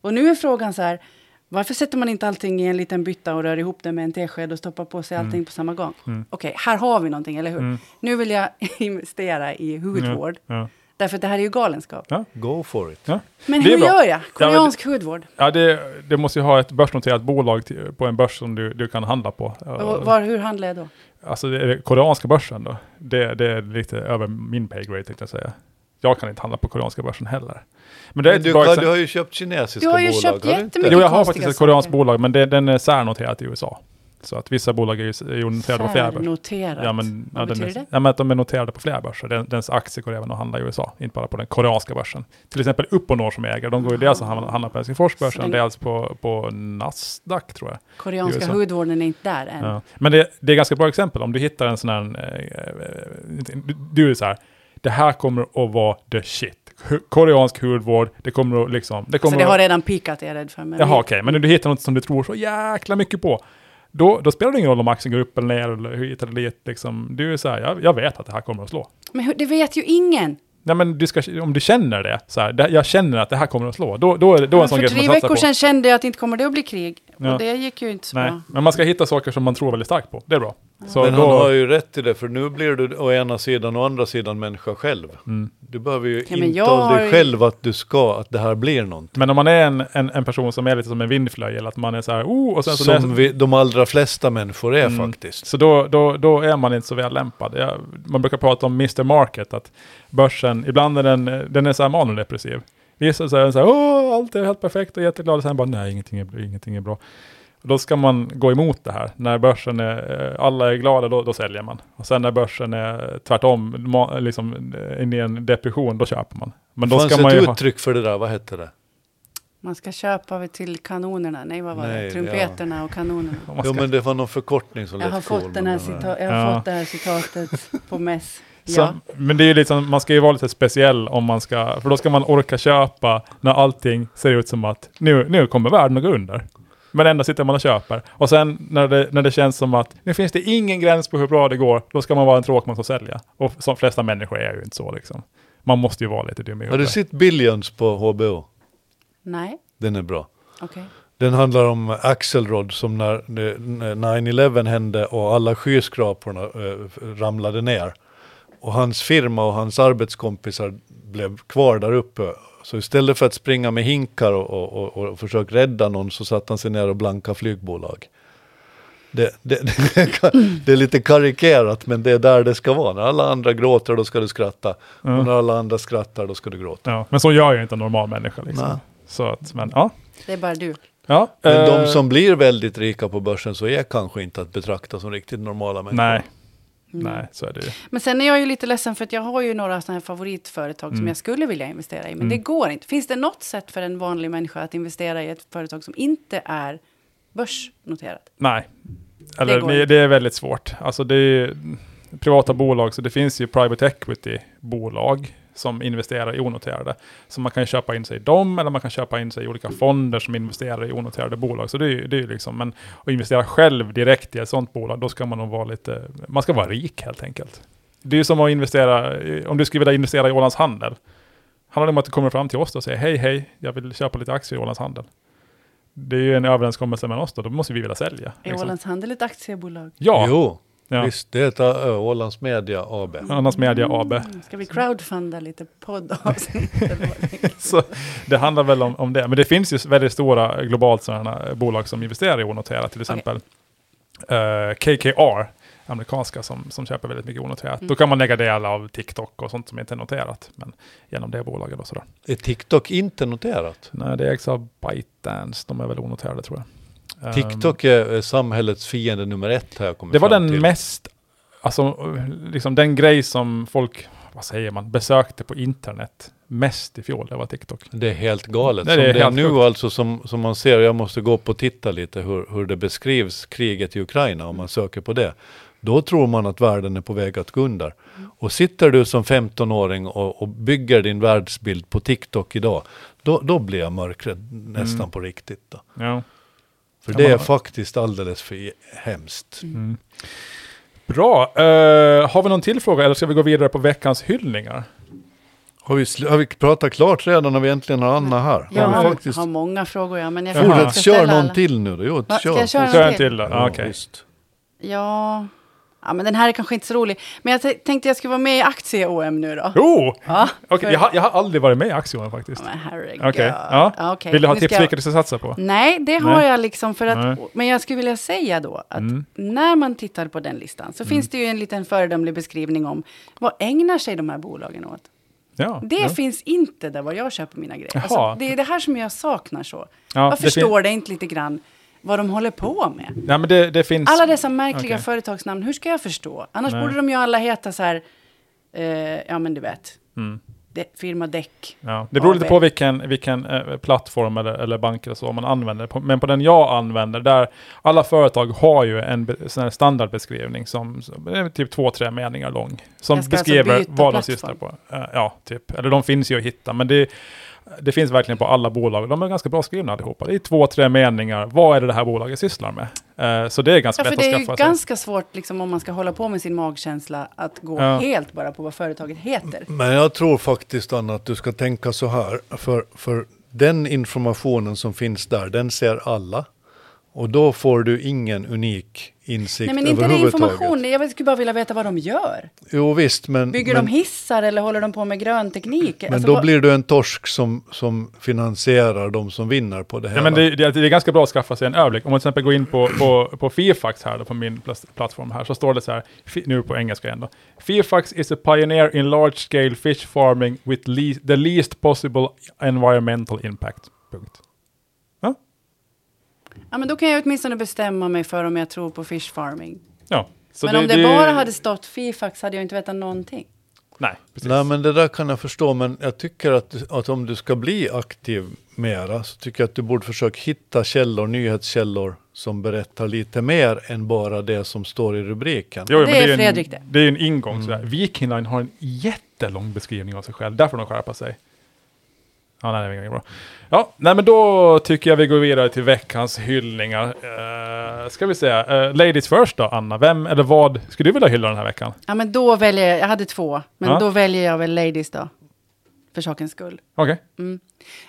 Speaker 3: Och nu är frågan så här, varför sätter man inte allting i en liten bytta och rör ihop det med en tesked och stoppar på
Speaker 2: Mm.
Speaker 3: sig allting på samma gång? Okej, här har vi någonting, eller hur? Nu vill jag investera i hudvård,
Speaker 2: Ja.
Speaker 3: därför att det här är ju galenskap.
Speaker 2: Ja.
Speaker 1: Go for it.
Speaker 2: Ja.
Speaker 3: Men
Speaker 2: Det är
Speaker 3: hur
Speaker 2: bra.
Speaker 3: gör jag?
Speaker 2: men det-
Speaker 3: Koreansk hudvård.
Speaker 2: Ja, det, det måste ju ha ett börsnoterat bolag till, på en börs som du, du kan handla på.
Speaker 3: Och Var, hur handlar jag då?
Speaker 2: Alltså det är det koreanska börsen då. Det, det är lite över min pay grade tänkte jag säga. Jag kan inte handla på koreanska börsen heller. Men det är
Speaker 1: Men
Speaker 2: ett
Speaker 1: du,
Speaker 2: bra
Speaker 1: Carl,
Speaker 2: exempel.
Speaker 1: du har ju köpt kinesiska
Speaker 3: Du har ju
Speaker 1: bolag.
Speaker 3: köpt
Speaker 1: har du inte?
Speaker 3: jättemycket.
Speaker 2: Jo, jag har
Speaker 3: konstiga
Speaker 2: faktiskt ett koreanskt
Speaker 3: saker.
Speaker 2: bolag, men det, den är särnoterad i USA. Så att vissa bolag är ju är ju noterade på flera börser.
Speaker 3: Särnoterat.
Speaker 2: Ja, men, ja,
Speaker 3: Vad
Speaker 2: den
Speaker 3: betyder
Speaker 2: är,
Speaker 3: det?
Speaker 2: ja, men att de är noterade på flera börser. Den, dens aktier går även att handla i USA, inte bara på den koreanska börsen. Till exempel Uponor som äger, de går ju dels att handla handla på
Speaker 3: Så
Speaker 2: Helsingforsbörsen,
Speaker 3: den-
Speaker 2: dels på, på Nasdaq tror jag.
Speaker 3: Koreanska
Speaker 2: USA.
Speaker 3: hudvården är inte där än. Alltså,
Speaker 2: Ja. Men det, det är ganska bra exempel. Om du hittar en sån här... eh, eh, du- Du är så här, det här kommer att vara the shit. Hu- Koreansk hudvård, det kommer att liksom... Det
Speaker 3: Så
Speaker 2: kommer
Speaker 3: Alltså, det har
Speaker 2: att,
Speaker 3: redan pikat, är jag rädd för. Men
Speaker 2: jaha, okej, men om du hittar något som du tror så jäkla mycket på, då, då spelar det ingen roll om aktien går upp eller ner eller hit eller dit. Liksom. Du är så här, jag, jag vet att det här kommer att slå.
Speaker 3: men hur, det vet ju ingen.
Speaker 2: Nej, men du ska, om du känner det, så här, det, jag känner att det här kommer att slå, då, då är det då är en sån
Speaker 3: för
Speaker 2: grej som
Speaker 3: tre
Speaker 2: man satsar
Speaker 3: veckor
Speaker 2: på.
Speaker 3: sedan kände jag att inte kommer det att bli krig.
Speaker 2: Ja.
Speaker 3: Och det gick ju inte så
Speaker 2: Nej,
Speaker 3: bra.
Speaker 2: men man ska hitta saker som man tror väldigt starkt på. Det är bra. Så
Speaker 1: Men
Speaker 2: då,
Speaker 1: han har ju rätt i det, för nu blir du å ena sidan och å andra sidan människa själv.
Speaker 2: Mm.
Speaker 1: Du behöver ju
Speaker 3: Ja, men jag
Speaker 1: intala
Speaker 3: har-
Speaker 1: dig själv att du ska, att det här blir någonting.
Speaker 2: Men om man är en, en, en person som är lite som en vindflöjel, att man är så här, oh, och sen Mm. så,
Speaker 1: Som
Speaker 2: läser,
Speaker 1: vi, de allra flesta människor är faktiskt.
Speaker 2: så då, då, då är man inte så väl lämpad. Jag, man brukar prata om Mr. Market, att börsen, ibland är den, eh, den är så här manodepressiv. Vissa säger så här, åh, allt är helt perfekt och jätteglad, och sen bara, nej, ingenting är, ingenting är bra. Och Då ska man gå emot det här. När börsen är, eh, alla är glada, då, då säljer man. Och sen när börsen är tvärtom, ma- liksom eh, in i en depression, då köper man. Men då
Speaker 1: Fanns
Speaker 2: ska man ju
Speaker 1: ett
Speaker 2: ha...
Speaker 1: uttryck för det där, vad hette det?
Speaker 3: Man ska köpa till kanonerna. Nej, vad var
Speaker 1: Nej,
Speaker 3: det? Trumpeterna och kanonerna.
Speaker 2: om man
Speaker 1: Jo
Speaker 2: ska-
Speaker 1: men det var någon förkortning som
Speaker 3: Jag har,
Speaker 1: lät cool,
Speaker 3: fått, den
Speaker 1: men
Speaker 3: här
Speaker 1: den
Speaker 3: cita- jag har
Speaker 2: Ja.
Speaker 3: fått det här citatet på mess.
Speaker 2: Så,
Speaker 3: Ja.
Speaker 2: Men det är ju liksom, man ska ju vara lite speciell om man ska, för då ska man orka köpa när allting ser ut som att nu, nu kommer världen att gå under. Men ändå sitter man och köper. Och sen när det, när det känns som att nu finns det ingen gräns på hur bra det går, då ska man vara en tråkmåns och sälja. Och som flesta människor är ju inte så liksom. Man måste ju vara lite dum i
Speaker 1: Har du
Speaker 2: huvudet.
Speaker 1: sett Billions på HBO?
Speaker 3: Nej,
Speaker 1: Den är bra.
Speaker 3: okej.
Speaker 1: Den handlar om Axelrod som när eh, när 9-11 hände och alla skyskraporna eh, ramlade ner. Och hans firma och hans arbetskompisar blev kvar där uppe. Så istället för att springa med hinkar och, och, och, och försöka rädda någon så satte han sig ner och blankade flygbolag. Det, det, det är lite karikerat men det är där det ska vara. När alla andra gråter då ska du skratta. Och när alla andra skrattar då ska du gråta.
Speaker 2: Ja, men så gör ju inte en normal människa liksom.
Speaker 1: Nej.
Speaker 2: Så att, men ja.
Speaker 3: Det är bara du.
Speaker 2: ja
Speaker 1: Men
Speaker 2: eh,
Speaker 1: de som blir väldigt rika på börsen så är kanske inte att betrakta som riktigt normala människor.
Speaker 2: Nej. Nej, så är det ju.
Speaker 3: Men sen är jag ju lite ledsen för att jag har ju några sådana här favoritföretag
Speaker 2: Mm.
Speaker 3: som jag skulle vilja investera i, men det går inte. Finns det något sätt för en vanlig människa att investera i ett företag som inte är börsnoterat?
Speaker 2: Nej. Eller,
Speaker 3: går
Speaker 2: det,
Speaker 3: inte.
Speaker 2: det är väldigt svårt. Alltså det är ju privata bolag, så det finns ju private equity-bolag som investerar i onoterade. Så man kan ju köpa in sig i dem, eller man kan köpa in sig i olika fonder som investerar i onoterade bolag. Så det är ju det är ju liksom, men att investera själv direkt i ett sånt bolag, då ska man nog vara lite, man ska vara rik helt enkelt. Det är ju som att investera, i- om du skulle vilja investera i Ålands Handel, handlar det om att du kommer fram till oss då och säger hej, hej, jag vill köpa lite aktier i Ålands Handel. Det är ju en överenskommelse mellan oss då, då måste vi vilja sälja.
Speaker 3: Är
Speaker 2: liksom.
Speaker 3: Ålands Handel ett aktiebolag?
Speaker 2: Ja,
Speaker 1: Jo,
Speaker 2: ja.
Speaker 1: visst. Det heter Ö- Ålands Media AB.
Speaker 2: Annars Media AB.
Speaker 3: Mm. Ska vi crowdfunda lite poddavsnitt? eller vad det är?
Speaker 2: Så det handlar väl om, om det. Men det finns ju väldigt stora globalt sådana bolag som investerar i onoterat, till exempel eh, KKR, amerikanska som, som köper väldigt mycket onoterat. Då kan man lägga del av TikTok och sånt som inte är noterat, men genom det bolaget och sådär.
Speaker 1: Är TikTok inte noterat?
Speaker 2: Nej, det ägs av ByteDance, de är väl onoterade tror jag. Ehm,
Speaker 1: TikTok är är samhällets fiende nummer ett har jag kommit
Speaker 2: Det var
Speaker 1: fram
Speaker 2: den
Speaker 1: till.
Speaker 2: mest, alltså liksom den grej som folk, vad säger man, besökte på internet mest i fjol, det var TikTok.
Speaker 1: Det är helt galet.
Speaker 2: Nej,
Speaker 1: som
Speaker 2: det
Speaker 1: det
Speaker 2: är
Speaker 1: är,
Speaker 2: helt
Speaker 1: nu
Speaker 2: sjukt.
Speaker 1: alltså som, som man ser, jag måste gå upp och titta lite hur, hur det beskrivs, kriget i Ukraina, om man söker på det. då tror man att världen är på väg att gå under. Och sitter du som 15-åring och, och bygger din världsbild på TikTok idag, då, då blir jag mörkret nästan på riktigt. Då.
Speaker 2: Ja.
Speaker 1: För
Speaker 2: Kan
Speaker 1: det är
Speaker 2: man-
Speaker 1: faktiskt alldeles för i- hemskt.
Speaker 2: Mm. Bra. Eh, har vi någon till fråga eller ska vi gå vidare på veckans hyllningar?
Speaker 1: Har, vi, sl- har vi pratat klart redan när vi äntligen har Anna här?
Speaker 3: Jag
Speaker 1: har vi
Speaker 3: har,
Speaker 1: faktiskt...
Speaker 3: har många frågor, ja, men jag
Speaker 2: Jaha.
Speaker 3: kanske
Speaker 1: Fortsätt,
Speaker 3: inte ska
Speaker 1: kör
Speaker 3: ställa
Speaker 1: någon
Speaker 3: alla.
Speaker 1: till nu då. Jo,
Speaker 3: Va, ska
Speaker 1: kör.
Speaker 3: jag köra
Speaker 2: Kör
Speaker 3: en
Speaker 2: en
Speaker 3: till?
Speaker 2: till då.
Speaker 1: Ja,
Speaker 2: Ja, Okej.
Speaker 1: visst.
Speaker 3: Ja. ja, men den här är kanske inte så rolig. Men jag t- tänkte jag skulle vara med i aktie-OM nu då.
Speaker 2: Jo!
Speaker 3: Ja,
Speaker 2: Oh, Okej, jag, har- jag har aldrig varit med i Axiom faktiskt.
Speaker 3: men herregud.
Speaker 2: Okej. Ja.
Speaker 3: Ja, okej.
Speaker 2: Vill du ha
Speaker 3: Nu ska
Speaker 2: tips
Speaker 3: jag-
Speaker 2: vilka du ska satsa på?
Speaker 3: Nej, det har
Speaker 2: Nej.
Speaker 3: jag liksom för att...
Speaker 2: Nej. Mm.
Speaker 3: Men jag skulle vilja säga då att när man tittar på den listan så finns det ju en liten föredömlig beskrivning om vad ägnar sig de här bolagen åt?
Speaker 2: Ja.
Speaker 3: Det
Speaker 2: ja.
Speaker 3: finns inte där var jag köper mina grejer.
Speaker 2: Jaha.
Speaker 3: Alltså, det är det här som jag saknar så.
Speaker 2: Ja,
Speaker 3: jag
Speaker 2: det fin-
Speaker 3: förstår det inte lite grann vad de håller på med.
Speaker 2: Nej, men det, det finns...
Speaker 3: Alla dessa märkliga
Speaker 2: Okej.
Speaker 3: företagsnamn, hur ska jag förstå? Annars
Speaker 2: Nej.
Speaker 3: borde de ju alla heta så här, eh, ja men du vet,
Speaker 2: Mm.
Speaker 3: de, firma Däck.
Speaker 2: Ja, det beror lite
Speaker 3: AB.
Speaker 2: på vilken, vilken eh, plattform eller, eller bank eller så man använder. På- Men på den jag använder, där alla företag har ju en be- sån här standardbeskrivning som, som är typ två, tre meningar lång. Som
Speaker 3: Jag ska alltså
Speaker 2: beskriver
Speaker 3: byta
Speaker 2: vad de
Speaker 3: plattform.
Speaker 2: sysslar på. Eh, Ja, typ. Eller de finns ju att hitta, men det, det finns verkligen på alla bolag. De är ganska bra skrivna allihopa. Det är två, tre meningar. Vad är det det här bolaget sysslar med? Eh, Så det är ganska
Speaker 3: Ja, för
Speaker 2: lätt att
Speaker 3: det är ju
Speaker 2: skaffa sig.
Speaker 3: ganska svårt liksom, om man ska hålla på med sin magkänsla att gå
Speaker 2: Ja.
Speaker 3: helt bara på vad företaget heter.
Speaker 1: Men jag tror faktiskt Anna att du ska tänka så här. För, för den informationen som finns där, den ser alla. Och då får du ingen unik insikt
Speaker 3: Nej men inte det är
Speaker 1: överhuvudtaget.
Speaker 3: information, jag skulle bara vilja veta vad de gör.
Speaker 1: Jo visst, men,
Speaker 3: Bygger
Speaker 1: men,
Speaker 3: de hissar eller håller de på med grönteknik?
Speaker 1: men
Speaker 3: Alltså,
Speaker 1: då
Speaker 3: vad-
Speaker 1: blir du en torsk som, som finansierar de som vinner på det här.
Speaker 2: Ja, men det, det, det är ganska bra att skaffa sig en överblick. Om man till exempel går in på, på, på Fairfax här, då, på min plas- plattform här, så står det så här, fi- nu på engelska igen då. Fairfax is a pioneer in large scale fish farming with le- the least possible environmental impact. Punkt.
Speaker 3: Ja, men då kan jag åtminstone bestämma mig för om jag tror på fish farming.
Speaker 2: Ja. Så
Speaker 3: men om det, bara hade stått Fifax hade jag inte vetat någonting.
Speaker 2: Nej, precis.
Speaker 1: Nej, men det där kan jag förstå, men jag tycker att, att om du ska bli aktiv mera så tycker jag att du borde försöka hitta källor, nyhetskällor som berättar lite mer än bara det som står i rubriken.
Speaker 2: Jo,
Speaker 3: Det
Speaker 2: men
Speaker 3: är
Speaker 2: en,
Speaker 3: Fredrik det.
Speaker 2: Det är en ingång. sådär. Viking Line har en jättelång beskrivning av sig själv. Där får de skärpa sig. Ja, nej, det är inget bra. Ja, nej, men då tycker jag vi går vidare till veckans hyllningar. Uh, ska vi säga, eh, ladies first då, Anna. Vem eller vad skulle du vilja hylla den här veckan?
Speaker 3: Ja, men då väljer jag, jag hade två, men
Speaker 2: Ja.
Speaker 3: då väljer jag väl Ladies då. För sakens skull.
Speaker 2: Okej.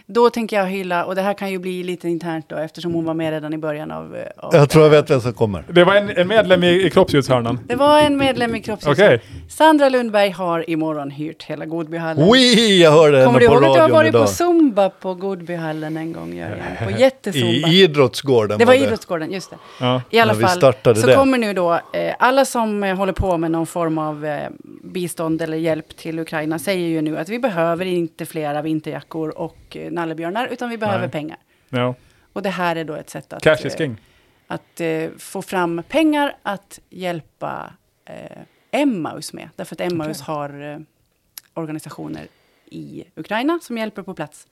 Speaker 3: Då tänker jag hylla, och det här kan ju bli lite internt då, eftersom hon var med redan i början av... eh, av
Speaker 1: Jag tror jag vet vem som kommer.
Speaker 2: Det var en, en medlem i, i kroppsljudshörnan.
Speaker 3: Det var en medlem i kroppshuset.
Speaker 2: Okej.
Speaker 3: Sandra Lundberg har imorgon hyrt hela Godbyhallen.
Speaker 1: Oui, jag hörde henne
Speaker 3: Kommer du
Speaker 1: på
Speaker 3: ihåg att du har
Speaker 1: radion
Speaker 3: varit på
Speaker 1: idag. Äh,
Speaker 3: Zumba på Godbyhallen en gång, Jörgen? På jättezumba.
Speaker 1: I idrottsgården
Speaker 3: Det var idrottsgården, just det.
Speaker 2: Ja.
Speaker 3: I alla
Speaker 1: När vi
Speaker 3: fall,
Speaker 1: startade
Speaker 3: så
Speaker 1: det.
Speaker 3: kommer nu då eh, alla som eh, håller på med någon form av eh, bistånd eller hjälp till Ukraina säger ju nu att vi behöver inte flera vinterjackor och eh, nallebjörnar, utan vi behöver
Speaker 2: Nej.
Speaker 3: pengar.
Speaker 2: Ja.
Speaker 3: Och det här är då ett sätt att,
Speaker 2: Cash is
Speaker 3: eh,
Speaker 2: king.
Speaker 3: att eh, få fram pengar att hjälpa eh, Emmaus med. Därför att Emmaus har eh, organisationer i Ukraina som hjälper på plats.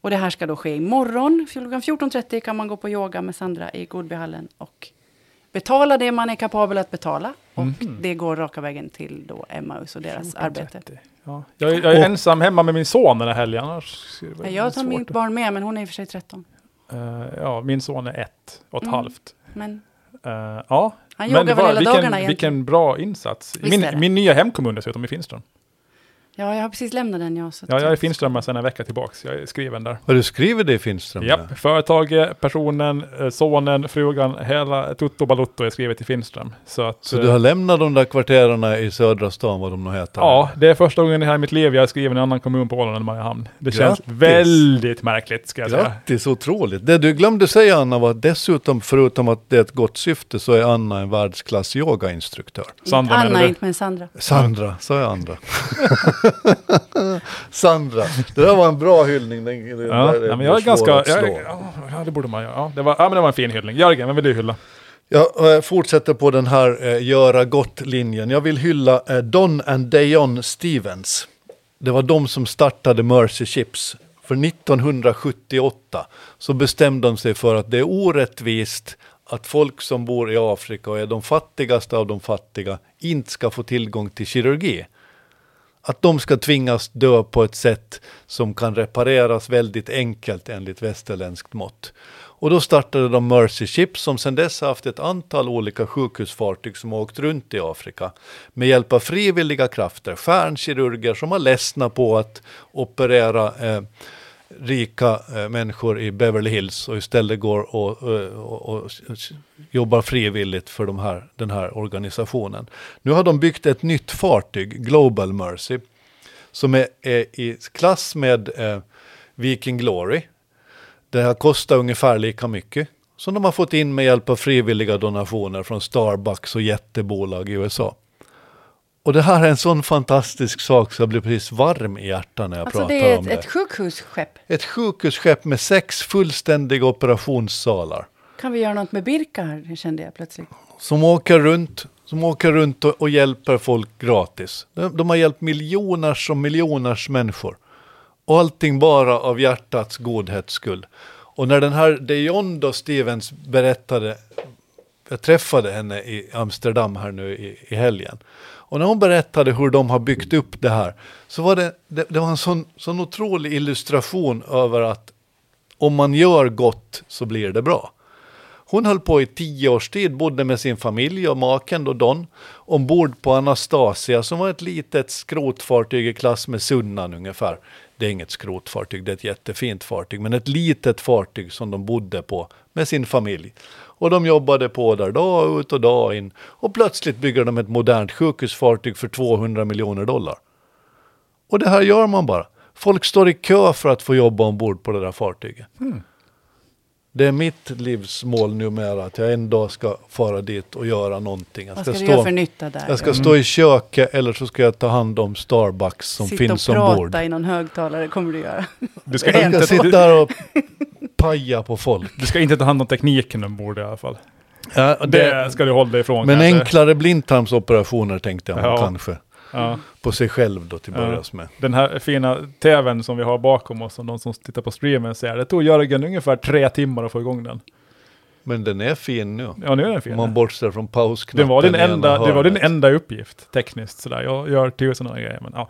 Speaker 3: Och det här ska då ske imorgon. Klockan 14.30 kan man gå på yoga med Sandra i Godbyhallen och betala det man är kapabel att betala. Och
Speaker 2: Mhm.
Speaker 3: det går raka vägen till då Emmaus och deras arbete.
Speaker 2: Ja. Jag, är- jag är ensam hemma med min son den här helgen. Annars skulle det vara
Speaker 3: Jag tar
Speaker 2: svårt.
Speaker 3: mitt barn med, men hon är i och för sig 13.
Speaker 2: Eh, ja, min son är ett och ett
Speaker 3: Mm.
Speaker 2: halvt.
Speaker 3: Men
Speaker 2: Eh, ja,
Speaker 3: Han
Speaker 2: Men
Speaker 3: joggar
Speaker 2: det
Speaker 3: väl
Speaker 2: var-
Speaker 3: hela
Speaker 2: vilken,
Speaker 3: dagarna egentligen.
Speaker 2: Vilken bra insats.
Speaker 3: Visst är
Speaker 2: Min,
Speaker 3: det.
Speaker 2: min nya hemkommun dessutom, i Finström.
Speaker 3: ja, jag har precis lämnat den jag. Så att-
Speaker 2: Ja, jag är finströmmare sedan en vecka tillbaks. Jag är skriven där.
Speaker 1: Har du skrivit det i Finström?
Speaker 2: Japp, företaget, personen, eh, sonen, frugan, hela Tutto Balutto är skrivet i Finström. Så att,
Speaker 1: Så
Speaker 2: eh,
Speaker 1: du har lämnat de där kvartererna i södra stan, vad de nu heter?
Speaker 2: Ja, det är första gången i hela mitt liv jag är skriven i en annan kommun på Åland än Mariehamn. Det känns
Speaker 1: Grattis.
Speaker 2: väldigt märkligt, ska jag säga.
Speaker 1: Grattis, otroligt. Det du glömde säga Anna var att dessutom, förutom att det är ett gott syfte, så är Anna en världsklass yogainstruktör.
Speaker 2: Sandra, menar
Speaker 3: Anna,
Speaker 2: du?
Speaker 3: inte men Sandra.
Speaker 1: Sandra, sa jag andra. Sandra, det där var en bra hyllning. Den, den
Speaker 2: Ja,
Speaker 1: där
Speaker 2: nej, men
Speaker 1: blir
Speaker 2: jag är
Speaker 1: svår
Speaker 2: ganska...
Speaker 1: att
Speaker 2: Jag,
Speaker 1: slå.
Speaker 2: ja, det borde man göra. Ja, det var, ja, men det var en fin hyllning. Jörgen, vem vill du hylla?
Speaker 1: Jag eh, fortsätter på den här eh, göra gott-linjen. Jag vill hylla eh, Don and Dayon Stevens. Det var de som startade Mercy Ships. För 1978 så bestämde de sig för att det är orättvist att folk som bor i Afrika och är de fattigaste av de fattiga inte ska få tillgång till kirurgi. Att de ska tvingas dö på ett sätt som kan repareras väldigt enkelt enligt västerländskt mått. Och då startade de Mercy Ships som sedan dess har haft ett antal olika sjukhusfartyg som har åkt runt i Afrika med hjälp av frivilliga krafter, stjärnkirurger som har ledsna på att operera eh, rika eh, människor i Beverly Hills och istället går och, eh, och, och, jobbar frivilligt för de här, den här organisationen. Nu har de byggt ett nytt fartyg, Global Mercy, som är, är i klass med eh, Viking Glory. Det här kostar ungefär lika mycket som de har fått in med hjälp av frivilliga donationer från Starbucks och jättebolag i USA. Och det här är en sån fantastisk sak så jag blir precis varm i hjärtat när jag
Speaker 3: Alltså
Speaker 1: pratar
Speaker 3: det är
Speaker 1: om
Speaker 3: ett,
Speaker 1: det.
Speaker 3: ett sjukhusskepp.
Speaker 1: Ett sjukhusskepp med sex fullständiga operationssalar.
Speaker 3: Kan vi göra något med Birka här, kände jag plötsligt.
Speaker 1: Som åker runt, som åker runt och, och hjälper folk gratis. De, de har hjälpt miljoners och miljoners människor. Och allting bara av hjärtats godhets skull. Och när den här Dejondo Stevens berättade, jag träffade henne i Amsterdam här nu i, i helgen. Och när hon berättade hur de har byggt upp det här, så var det, det, det var en sån, sån otrolig illustration över att om man gör gott så blir det bra. Hon höll på i tio års tid, bodde med sin familj och maken då Don ombord på Anastasia som var ett litet skrotfartyg i klass med Sunnan ungefär. Det är inget skrotfartyg, det är ett jättefint fartyg, men ett litet fartyg som de bodde på med sin familj. Och de jobbade på där dag ut och dag in och plötsligt bygger de ett modernt sjukhusfartyg för 200 miljoner dollar. Och det här gör man bara. Folk står i kö för att få jobba ombord på det där fartyget.
Speaker 2: Hmm.
Speaker 1: Det är mitt livs mål numera att jag en dag ska fara dit och göra någonting. Jag
Speaker 3: Vad ska, du göra för nytta där?
Speaker 1: jag
Speaker 2: Mm.
Speaker 1: ska stå i köket eller så ska jag ta hand om Starbucks som
Speaker 3: Sitta
Speaker 1: finns
Speaker 3: och prata
Speaker 1: ombord.
Speaker 3: i någon högtalare kommer du göra.
Speaker 2: Du ska,
Speaker 1: Jag ska
Speaker 2: inte,
Speaker 1: sitta
Speaker 2: du,
Speaker 1: där och paja på folk.
Speaker 2: du ska inte ta hand om tekniken ombord i alla fall.
Speaker 1: Ja, och
Speaker 2: Det
Speaker 1: det,
Speaker 2: ska du hålla dig ifrån.
Speaker 1: men
Speaker 2: kanske.
Speaker 1: enklare blindtarmsoperationer tänkte jag
Speaker 2: Ja.
Speaker 1: kanske.
Speaker 2: Ja.
Speaker 1: På sig själv då till
Speaker 2: Ja.
Speaker 1: börjas med.
Speaker 2: Den här fina tvn som vi har bakom oss, som de som tittar på streamen ser. Det tog Jörgen ungefär tre timmar att få igång den.
Speaker 1: Men den är fin nu.
Speaker 2: Ja, nu är den
Speaker 1: Om
Speaker 2: fin.
Speaker 1: man bortser från pausknappen.
Speaker 2: Det var, din
Speaker 1: i ena
Speaker 2: enda, det var din
Speaker 1: hörnet.
Speaker 2: enda uppgift tekniskt. Sådär. Jag gör tusen andra grejer. Men, ja.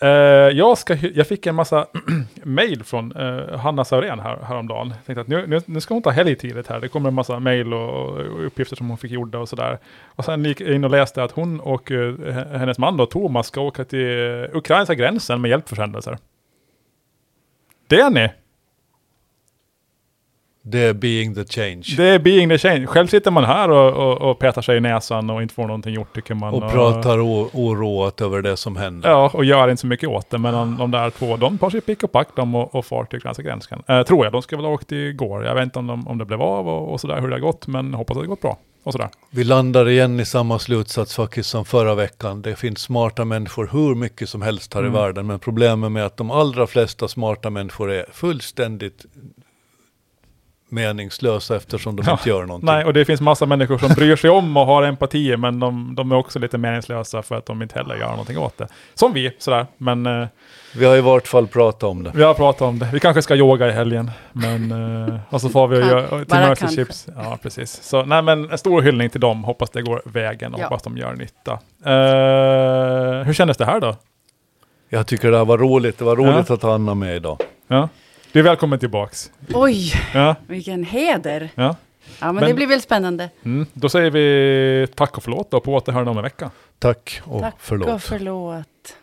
Speaker 2: Eh, jag, ska, hy- jag fick en massa mejl från eh, Hanna Saurén här, häromdagen. Jag tänkte att nu, nu, nu ska hon ta helg tidigt här. Det kommer en massa mejl och, och uppgifter som hon fick gjorda och sådär. Och sen gick jag in och läste att hon och eh, hennes man då, Thomas ska åka till eh, ukrainska gränsen med hjälpförsändelser. Det är ni!
Speaker 1: Det är being the change.
Speaker 2: Det är being the change. Själv sitter man här och, och, och petar sig i näsan och inte får någonting gjort tycker man.
Speaker 1: och pratar o- oroat över det som händer.
Speaker 2: Ja, och gör inte så mycket åt det. Men de, de där två, de tar sig pick och pack de och, och far till Ukrainska gränsen. Eh, tror jag. De skulle väl ha åkt igår. Jag vet inte om, de, om det blev av och, och sådär hur det har gått. Men hoppas att det har gått bra. Och sådär.
Speaker 1: Vi landar igen i samma slutsats faktiskt som förra veckan. Det finns smarta människor hur mycket som helst här
Speaker 2: Mm.
Speaker 1: i världen. Men problemet med att de allra flesta smarta människor är fullständigt meningslösa eftersom de
Speaker 2: Ja,
Speaker 1: inte gör någonting.
Speaker 2: Nej, och det finns massa människor som bryr sig om och har empati. Men de, de är också lite meningslösa för att de inte heller gör någonting åt det. Som vi, sådär. Men eh,
Speaker 1: Vi har i vart fall pratat om det.
Speaker 2: vi har pratat om det. Vi kanske ska yoga i helgen. Men, eh, och så får vi
Speaker 3: Kan-
Speaker 2: göra till
Speaker 3: bara
Speaker 2: Mercy
Speaker 3: kanske.
Speaker 2: Chips. Ja, precis. Så nej, men en stor hyllning till dem. Hoppas det går vägen och
Speaker 3: Ja.
Speaker 2: hoppas de gör nytta. Eh, hur kändes det här då?
Speaker 1: Jag tycker det här var roligt. Det var roligt att ha Anna med idag.
Speaker 2: Ja. Du är välkommen tillbaks.
Speaker 3: Oj,
Speaker 2: Ja,
Speaker 3: vilken heder.
Speaker 2: ja.
Speaker 3: Ja, men,
Speaker 2: Men-
Speaker 3: det blir väl spännande.
Speaker 2: Mm. Då säger vi tack och förlåt och på återhörande om en vecka.
Speaker 1: Tack och
Speaker 3: Tack
Speaker 1: förlåt.
Speaker 3: och förlåt.